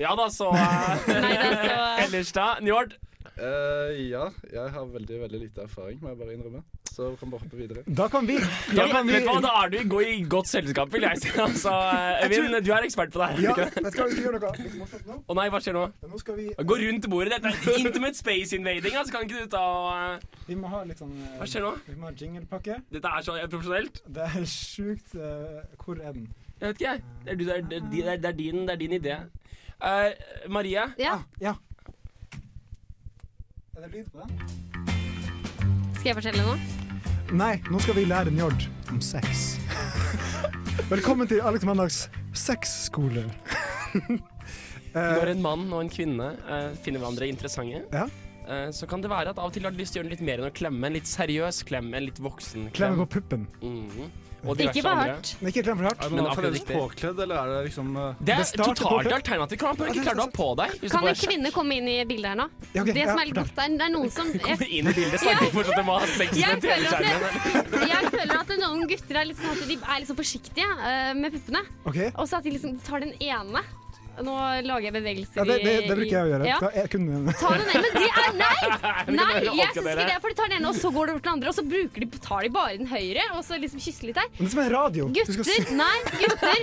[SPEAKER 4] Ja da, så eh,
[SPEAKER 5] Nei, det er så
[SPEAKER 4] Ellers da, Njord?
[SPEAKER 6] Eh, ja, jeg har veldig veldig lite erfaring, må jeg bare innrømme. Så vi kan bare hoppe videre.
[SPEAKER 2] Da kan vi
[SPEAKER 4] Ja, men, vet du hva, da er du i go- i godt selskap, vil jeg si. Altså, eh, Evin, du er ekspert på det her.
[SPEAKER 2] Ja,
[SPEAKER 4] er du ikke det?
[SPEAKER 2] jeg skal vi gjøre noe litt morsomt nå.
[SPEAKER 4] Å nei, hva skjer nå?
[SPEAKER 2] Nå skal vi
[SPEAKER 4] Gå rundt bordet. Dette er intimate space invading. Altså, kan ikke du ta og eh,
[SPEAKER 2] Vi må ha litt sånn eh,
[SPEAKER 4] Hva skjer nå?
[SPEAKER 2] Vi må ha jinglepakke.
[SPEAKER 4] Dette er så profesjonelt.
[SPEAKER 2] Det er sjukt eh, Hvor er den?
[SPEAKER 4] Jeg vet ikke, jeg. Det er, du, det er, det er, det er, din, det er din idé. Eh, Marie,
[SPEAKER 5] Ja,
[SPEAKER 2] Ah, Ja. Er det lyd på den?
[SPEAKER 5] skal jeg fortelle noe?
[SPEAKER 2] Nei, nå skal vi lære Njord om sex. Velkommen til Alex Mandags sexskole.
[SPEAKER 4] når en mann og en kvinne eh, finner hverandre interessante,
[SPEAKER 2] Ja.
[SPEAKER 4] eh, så kan det være at av og til har du lyst til å gjøre litt mer enn å klemme. En litt seriøs klem, en litt voksen klem.
[SPEAKER 2] Klemme på puppen.
[SPEAKER 4] Mhm. Og diverse
[SPEAKER 5] Ikke bare
[SPEAKER 4] andre.
[SPEAKER 5] hardt.
[SPEAKER 2] Men ikke klem for hardt.
[SPEAKER 6] Er
[SPEAKER 4] Men
[SPEAKER 6] man
[SPEAKER 4] akkurat
[SPEAKER 6] fremdeles
[SPEAKER 4] riktig.
[SPEAKER 6] påkledd, eller er det liksom eh,
[SPEAKER 4] Det er
[SPEAKER 2] Det starter på
[SPEAKER 4] totalt
[SPEAKER 2] puppen.
[SPEAKER 4] alternativ. Kan man ikke klare å ha på deg.
[SPEAKER 5] Kan
[SPEAKER 4] Hvis du
[SPEAKER 5] en
[SPEAKER 4] bare
[SPEAKER 5] kvinne komme inn i bildet her nå?
[SPEAKER 2] Ja, ok,
[SPEAKER 5] Det
[SPEAKER 2] ja,
[SPEAKER 5] som er litt
[SPEAKER 2] fortell.
[SPEAKER 5] godt, er det er noen som
[SPEAKER 4] kommer inn i bildet, snakker fortsatt om å ha sex
[SPEAKER 5] Jeg
[SPEAKER 4] med
[SPEAKER 5] føler at
[SPEAKER 4] TV-skjermen.
[SPEAKER 5] det- jeg føler at noen gutter er litt sånn at de er litt sånn forsiktige eh, med puppene.
[SPEAKER 2] Ok,
[SPEAKER 5] Og så at de liksom tar den ene. Nå lager jeg bevegelser
[SPEAKER 2] Ja, det, det, det
[SPEAKER 5] i-
[SPEAKER 2] bruker jeg å gjøre.
[SPEAKER 5] Ja.
[SPEAKER 2] Da- Jeg kunne
[SPEAKER 5] Ta det ned, men de er Nei!
[SPEAKER 2] men
[SPEAKER 5] Nei,
[SPEAKER 2] kan dere
[SPEAKER 5] jeg
[SPEAKER 2] orke
[SPEAKER 5] syns ikke
[SPEAKER 2] dere?
[SPEAKER 5] det. For de tar den ene, og så går det over til den andre, og så bruker de, tar de bare den høyre, og så liksom kysser litt der.
[SPEAKER 2] Det er som en radio. Du skal
[SPEAKER 5] Gutter,
[SPEAKER 2] se-
[SPEAKER 5] nei, gutter.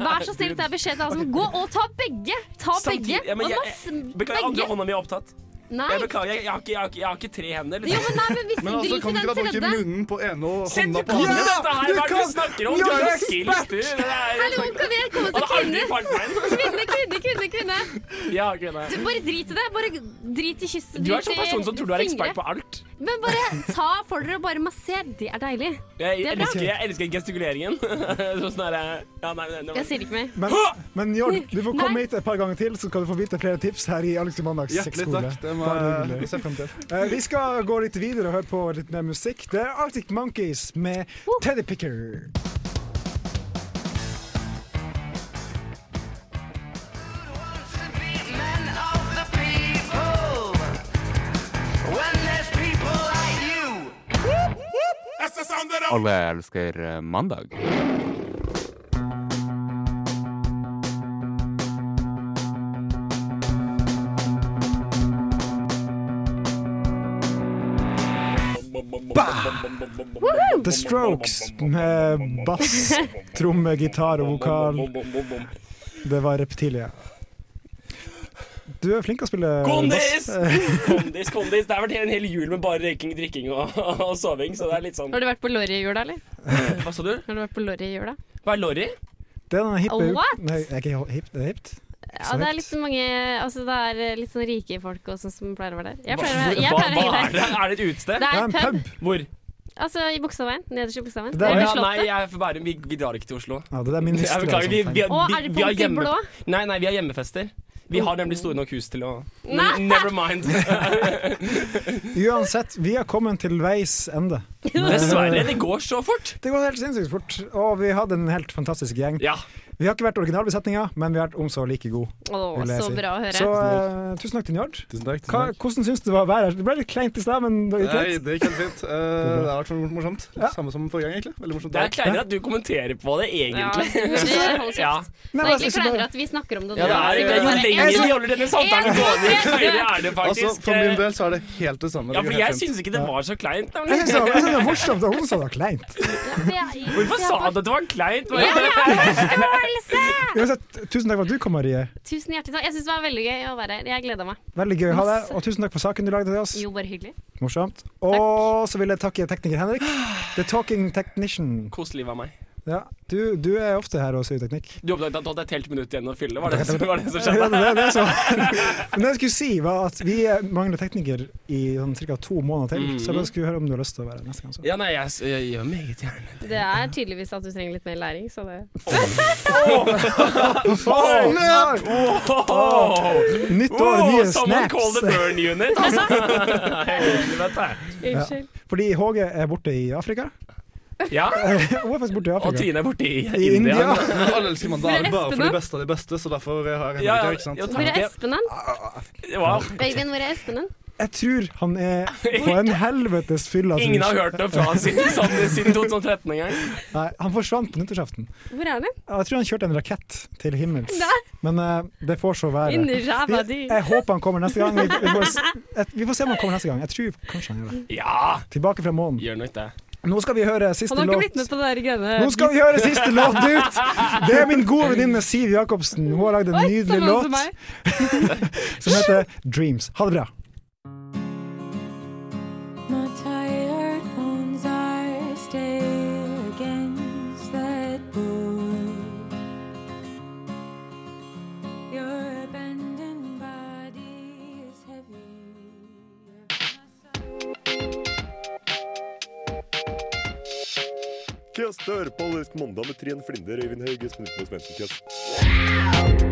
[SPEAKER 5] Vær så snill, det er beskjed til alle som Gå og ta begge! Ta
[SPEAKER 4] Samtidig-
[SPEAKER 5] begge.
[SPEAKER 4] ja, men
[SPEAKER 5] Og
[SPEAKER 4] jeg,
[SPEAKER 5] masse-
[SPEAKER 4] jeg, beklager, andre hånda mi er opptatt.
[SPEAKER 5] Nei.
[SPEAKER 4] Jeg beklager, jeg, jeg, har ikke, jeg, har ikke, jeg har ikke tre hender. liksom.
[SPEAKER 5] Jo, men nei, men hvis
[SPEAKER 6] Men
[SPEAKER 5] du
[SPEAKER 6] altså, kan
[SPEAKER 5] driter
[SPEAKER 6] du ikke da
[SPEAKER 5] den
[SPEAKER 6] bruke
[SPEAKER 5] tredje
[SPEAKER 6] munnen på ene og
[SPEAKER 4] Sett
[SPEAKER 6] hånda
[SPEAKER 4] du
[SPEAKER 6] på
[SPEAKER 4] kan
[SPEAKER 6] andre?
[SPEAKER 4] det, dette her, hva er det
[SPEAKER 6] kan-
[SPEAKER 4] du snakker om? Du
[SPEAKER 6] Ja,
[SPEAKER 4] har
[SPEAKER 6] jeg
[SPEAKER 4] jo skills,
[SPEAKER 6] ekspert!
[SPEAKER 4] du. Det er-
[SPEAKER 5] Hallo, kan dere komme
[SPEAKER 4] Og
[SPEAKER 5] til
[SPEAKER 4] det har aldri falt meg
[SPEAKER 5] kvinne? Kvinne, kvinne, kvinne. kvinne.
[SPEAKER 4] Ja, ok, nei.
[SPEAKER 5] Du, bare drit i det. Bare drit i kysset.
[SPEAKER 4] Du er
[SPEAKER 5] drit
[SPEAKER 4] sånn
[SPEAKER 5] i
[SPEAKER 4] person som tror du er ekspert
[SPEAKER 5] fingre.
[SPEAKER 4] på alt.
[SPEAKER 5] Men bare ta for dere og bare masser. Det er deilig.
[SPEAKER 4] Jeg
[SPEAKER 5] Det er bra.
[SPEAKER 4] elsker, jeg elsker gestikuleringen. Sånn er det. Ja, nei, nei, nei.
[SPEAKER 5] Jeg sier ikke mer.
[SPEAKER 2] Men, men Njord, du får komme hit et par ganger til, så skal du få vite flere tips her i Alex i Mandags
[SPEAKER 6] Hjertelig
[SPEAKER 2] sexskole.
[SPEAKER 6] takk, det må
[SPEAKER 2] Bare
[SPEAKER 6] jeg
[SPEAKER 2] hyggelig.
[SPEAKER 6] se frem til.
[SPEAKER 2] Eh, Vi skal gå litt videre og høre på litt mer musikk. Det er Arctic Monkeys med Teddy Picker.
[SPEAKER 12] Alle elsker eh, mandag.
[SPEAKER 2] The Strokes med bass, tromme, gitar og vokal. Det var Reptilia. Du er flink til å spille
[SPEAKER 4] Kondis!
[SPEAKER 2] bass.
[SPEAKER 4] Kondis, kondis. Det har vært en hel jul med bare røyking, drikking og, og soving, så det er litt sånn
[SPEAKER 5] Har du vært på Lorry i jula, eller?
[SPEAKER 4] Eh, Hva sa du?
[SPEAKER 5] Har du vært på Lorry i jula?
[SPEAKER 4] Hva er lorry?
[SPEAKER 2] Det er noe hipp
[SPEAKER 5] What?
[SPEAKER 2] Nei, er ikke hipp, det er hipt.
[SPEAKER 5] Ja, det er litt mange Altså, det er eh, litt sånn rike folk og sånn som pleier å være der. Jeg pleier å
[SPEAKER 4] Hva,
[SPEAKER 5] være jeg
[SPEAKER 4] hva
[SPEAKER 5] pleier å
[SPEAKER 4] hva
[SPEAKER 5] henge
[SPEAKER 4] er det? Er det et
[SPEAKER 5] der.
[SPEAKER 4] utested?
[SPEAKER 5] Det er en pub.
[SPEAKER 4] Hvor?
[SPEAKER 5] Altså i Bogstadveien. Nederst i Bogstadveien.
[SPEAKER 4] Ja,
[SPEAKER 5] Eller
[SPEAKER 4] nei,
[SPEAKER 5] Slottet.
[SPEAKER 4] jeg er fra Bærum. Vi, vi drar ikke til Oslo.
[SPEAKER 2] Ja, det er sånn min liste.
[SPEAKER 4] Jeg beklager. Vi, vi,
[SPEAKER 5] Å,
[SPEAKER 4] vi,
[SPEAKER 5] er det
[SPEAKER 4] vi
[SPEAKER 5] Punkt
[SPEAKER 4] har
[SPEAKER 5] i
[SPEAKER 4] hjemme...
[SPEAKER 5] blå?
[SPEAKER 4] Nei, nei, vi har hjemmefester. Vi har nemlig store nok hus til å
[SPEAKER 5] Nei!
[SPEAKER 4] Never mind.
[SPEAKER 2] Uansett, vi har kommet til veis ende.
[SPEAKER 4] Dessverre. Det går så fort.
[SPEAKER 2] Det går helt sinnssykt fort. Og vi hadde en helt fantastisk gjeng. Vi har ikke vært originalbesetninga, men vi har vært om så like god.
[SPEAKER 5] Å,
[SPEAKER 2] vil jeg
[SPEAKER 5] så
[SPEAKER 2] si.
[SPEAKER 5] bra å høre.
[SPEAKER 2] Så eh, tusen takk til Njord.
[SPEAKER 6] takk,
[SPEAKER 2] Hva- Hvordan syns du det var å være her? Det ble litt kleint i stad, men det gikk
[SPEAKER 6] Nei,
[SPEAKER 2] greit.
[SPEAKER 6] det gikk helt fint. Eh, det har vært morsomt. Samme som forrige gang, egentlig. Veldig morsomt.
[SPEAKER 4] Det er kleinere at du kommenterer på det, egentlig.
[SPEAKER 5] Ja, men det- hold kjeft.
[SPEAKER 4] Ja.
[SPEAKER 2] altså,
[SPEAKER 5] Det er egentlig kleinere at vi snakker om det
[SPEAKER 4] Ja, det er egentlig- jo lenger vi holder denne samtalen gående, jo kleinere er det faktisk. eh,
[SPEAKER 6] Altså, For min del så er det helt det samme. Det
[SPEAKER 4] Ja,
[SPEAKER 6] går
[SPEAKER 4] for
[SPEAKER 6] helt
[SPEAKER 4] jeg
[SPEAKER 6] fint.
[SPEAKER 4] syns ikke det var så kleint. nemlig.
[SPEAKER 2] Jeg syns det var- jeg synes det var morsomt, og hun sa det var kleint.
[SPEAKER 4] Hvorfor sa du at det var kleint?
[SPEAKER 5] Ja, jeg har forståelse!
[SPEAKER 2] Uansett, tusen takk for at du kom, Marie.
[SPEAKER 5] Tusen hjertelig takk. Jeg syns det var veldig gøy å være her. Jeg gleder meg.
[SPEAKER 2] Veldig gøy å ha deg, og tusen takk for saken du lagde til oss.
[SPEAKER 5] Jo, bare hyggelig.
[SPEAKER 2] Morsomt. Og så vil jeg takke tekniker Henrik. The Talking Technician.
[SPEAKER 4] Koselig av meg.
[SPEAKER 2] Ja, du, du er ofte her og sier teknikk.
[SPEAKER 4] Du oppdaget at du hadde et helt minutt igjen å fylle, var det som, var det som
[SPEAKER 2] Ja, det,
[SPEAKER 4] skjedde?
[SPEAKER 2] er det som- Men det jeg skulle si, var at vi mangler tekniker i sånn, ca. to måneder til. Så jeg
[SPEAKER 4] Mm.
[SPEAKER 2] bare skulle høre om du har lyst til å være neste gang. Så.
[SPEAKER 4] Ja, nei, jeg, s- jeg gjør meget gjerne det.
[SPEAKER 5] Det er tydeligvis at du trenger litt mer læring, så det
[SPEAKER 4] Oh,
[SPEAKER 2] snap! Nytt år, nye
[SPEAKER 4] Someone call the
[SPEAKER 2] snaps.
[SPEAKER 4] burn unit, altså! Helvete.
[SPEAKER 2] Ja. Fordi HG er borte i Afrika.
[SPEAKER 4] Ja.
[SPEAKER 2] Hun er faktisk borte i Afrika.
[SPEAKER 4] Og Trine er borte i
[SPEAKER 2] I India.
[SPEAKER 4] India.
[SPEAKER 6] Alle elsker mandag
[SPEAKER 5] Hvor er
[SPEAKER 6] bare for de
[SPEAKER 5] Espen, da?
[SPEAKER 6] beste av de beste, så derfor har jeg
[SPEAKER 4] Ja, ja,
[SPEAKER 6] Henrik her, ikke sant?
[SPEAKER 4] ja,
[SPEAKER 5] Hvor er Espen hen?
[SPEAKER 4] Wow.
[SPEAKER 5] Babyen, hvor er Espen hen?
[SPEAKER 2] Jeg tror han er på en helvetes fylla. som-
[SPEAKER 4] Ingen har hørt det fra sin, sånn, siden 2013 engang.
[SPEAKER 2] Nei, han forsvant på nyttårsaften.
[SPEAKER 5] Hvor er han?
[SPEAKER 2] Jeg tror han kjørte en rakett til himmels.
[SPEAKER 5] Nei.
[SPEAKER 2] Men eh, det får så være.
[SPEAKER 5] Inni ræva di.
[SPEAKER 2] Vi- Jeg håper han kommer neste gang. Vi, vi, får, s- et- vi får se om han kommer neste gang. Jeg tror kanskje han gjør det.
[SPEAKER 4] Ja!
[SPEAKER 2] Tilbake fra månen.
[SPEAKER 4] Gjør nå ikke det.
[SPEAKER 2] Nå skal vi høre siste
[SPEAKER 5] Han har ikke
[SPEAKER 2] låt.
[SPEAKER 5] blitt med på det der greiene.
[SPEAKER 2] Nå skal vi høre siste låt ut! Det er min gode venninne Siv Jacobsen. Hun har lagd en nydelig
[SPEAKER 5] Samme
[SPEAKER 2] låt
[SPEAKER 5] som meg.
[SPEAKER 2] som heter Dreams. Ha det bra.
[SPEAKER 13] My tired bones are stale against that board. Your abandoned body is
[SPEAKER 14] Kjøs dør på Allersk mandag med Trine Flinder, Øyvind Hauge, Smidt og Svendsen Kjøs.
[SPEAKER 13] heavy.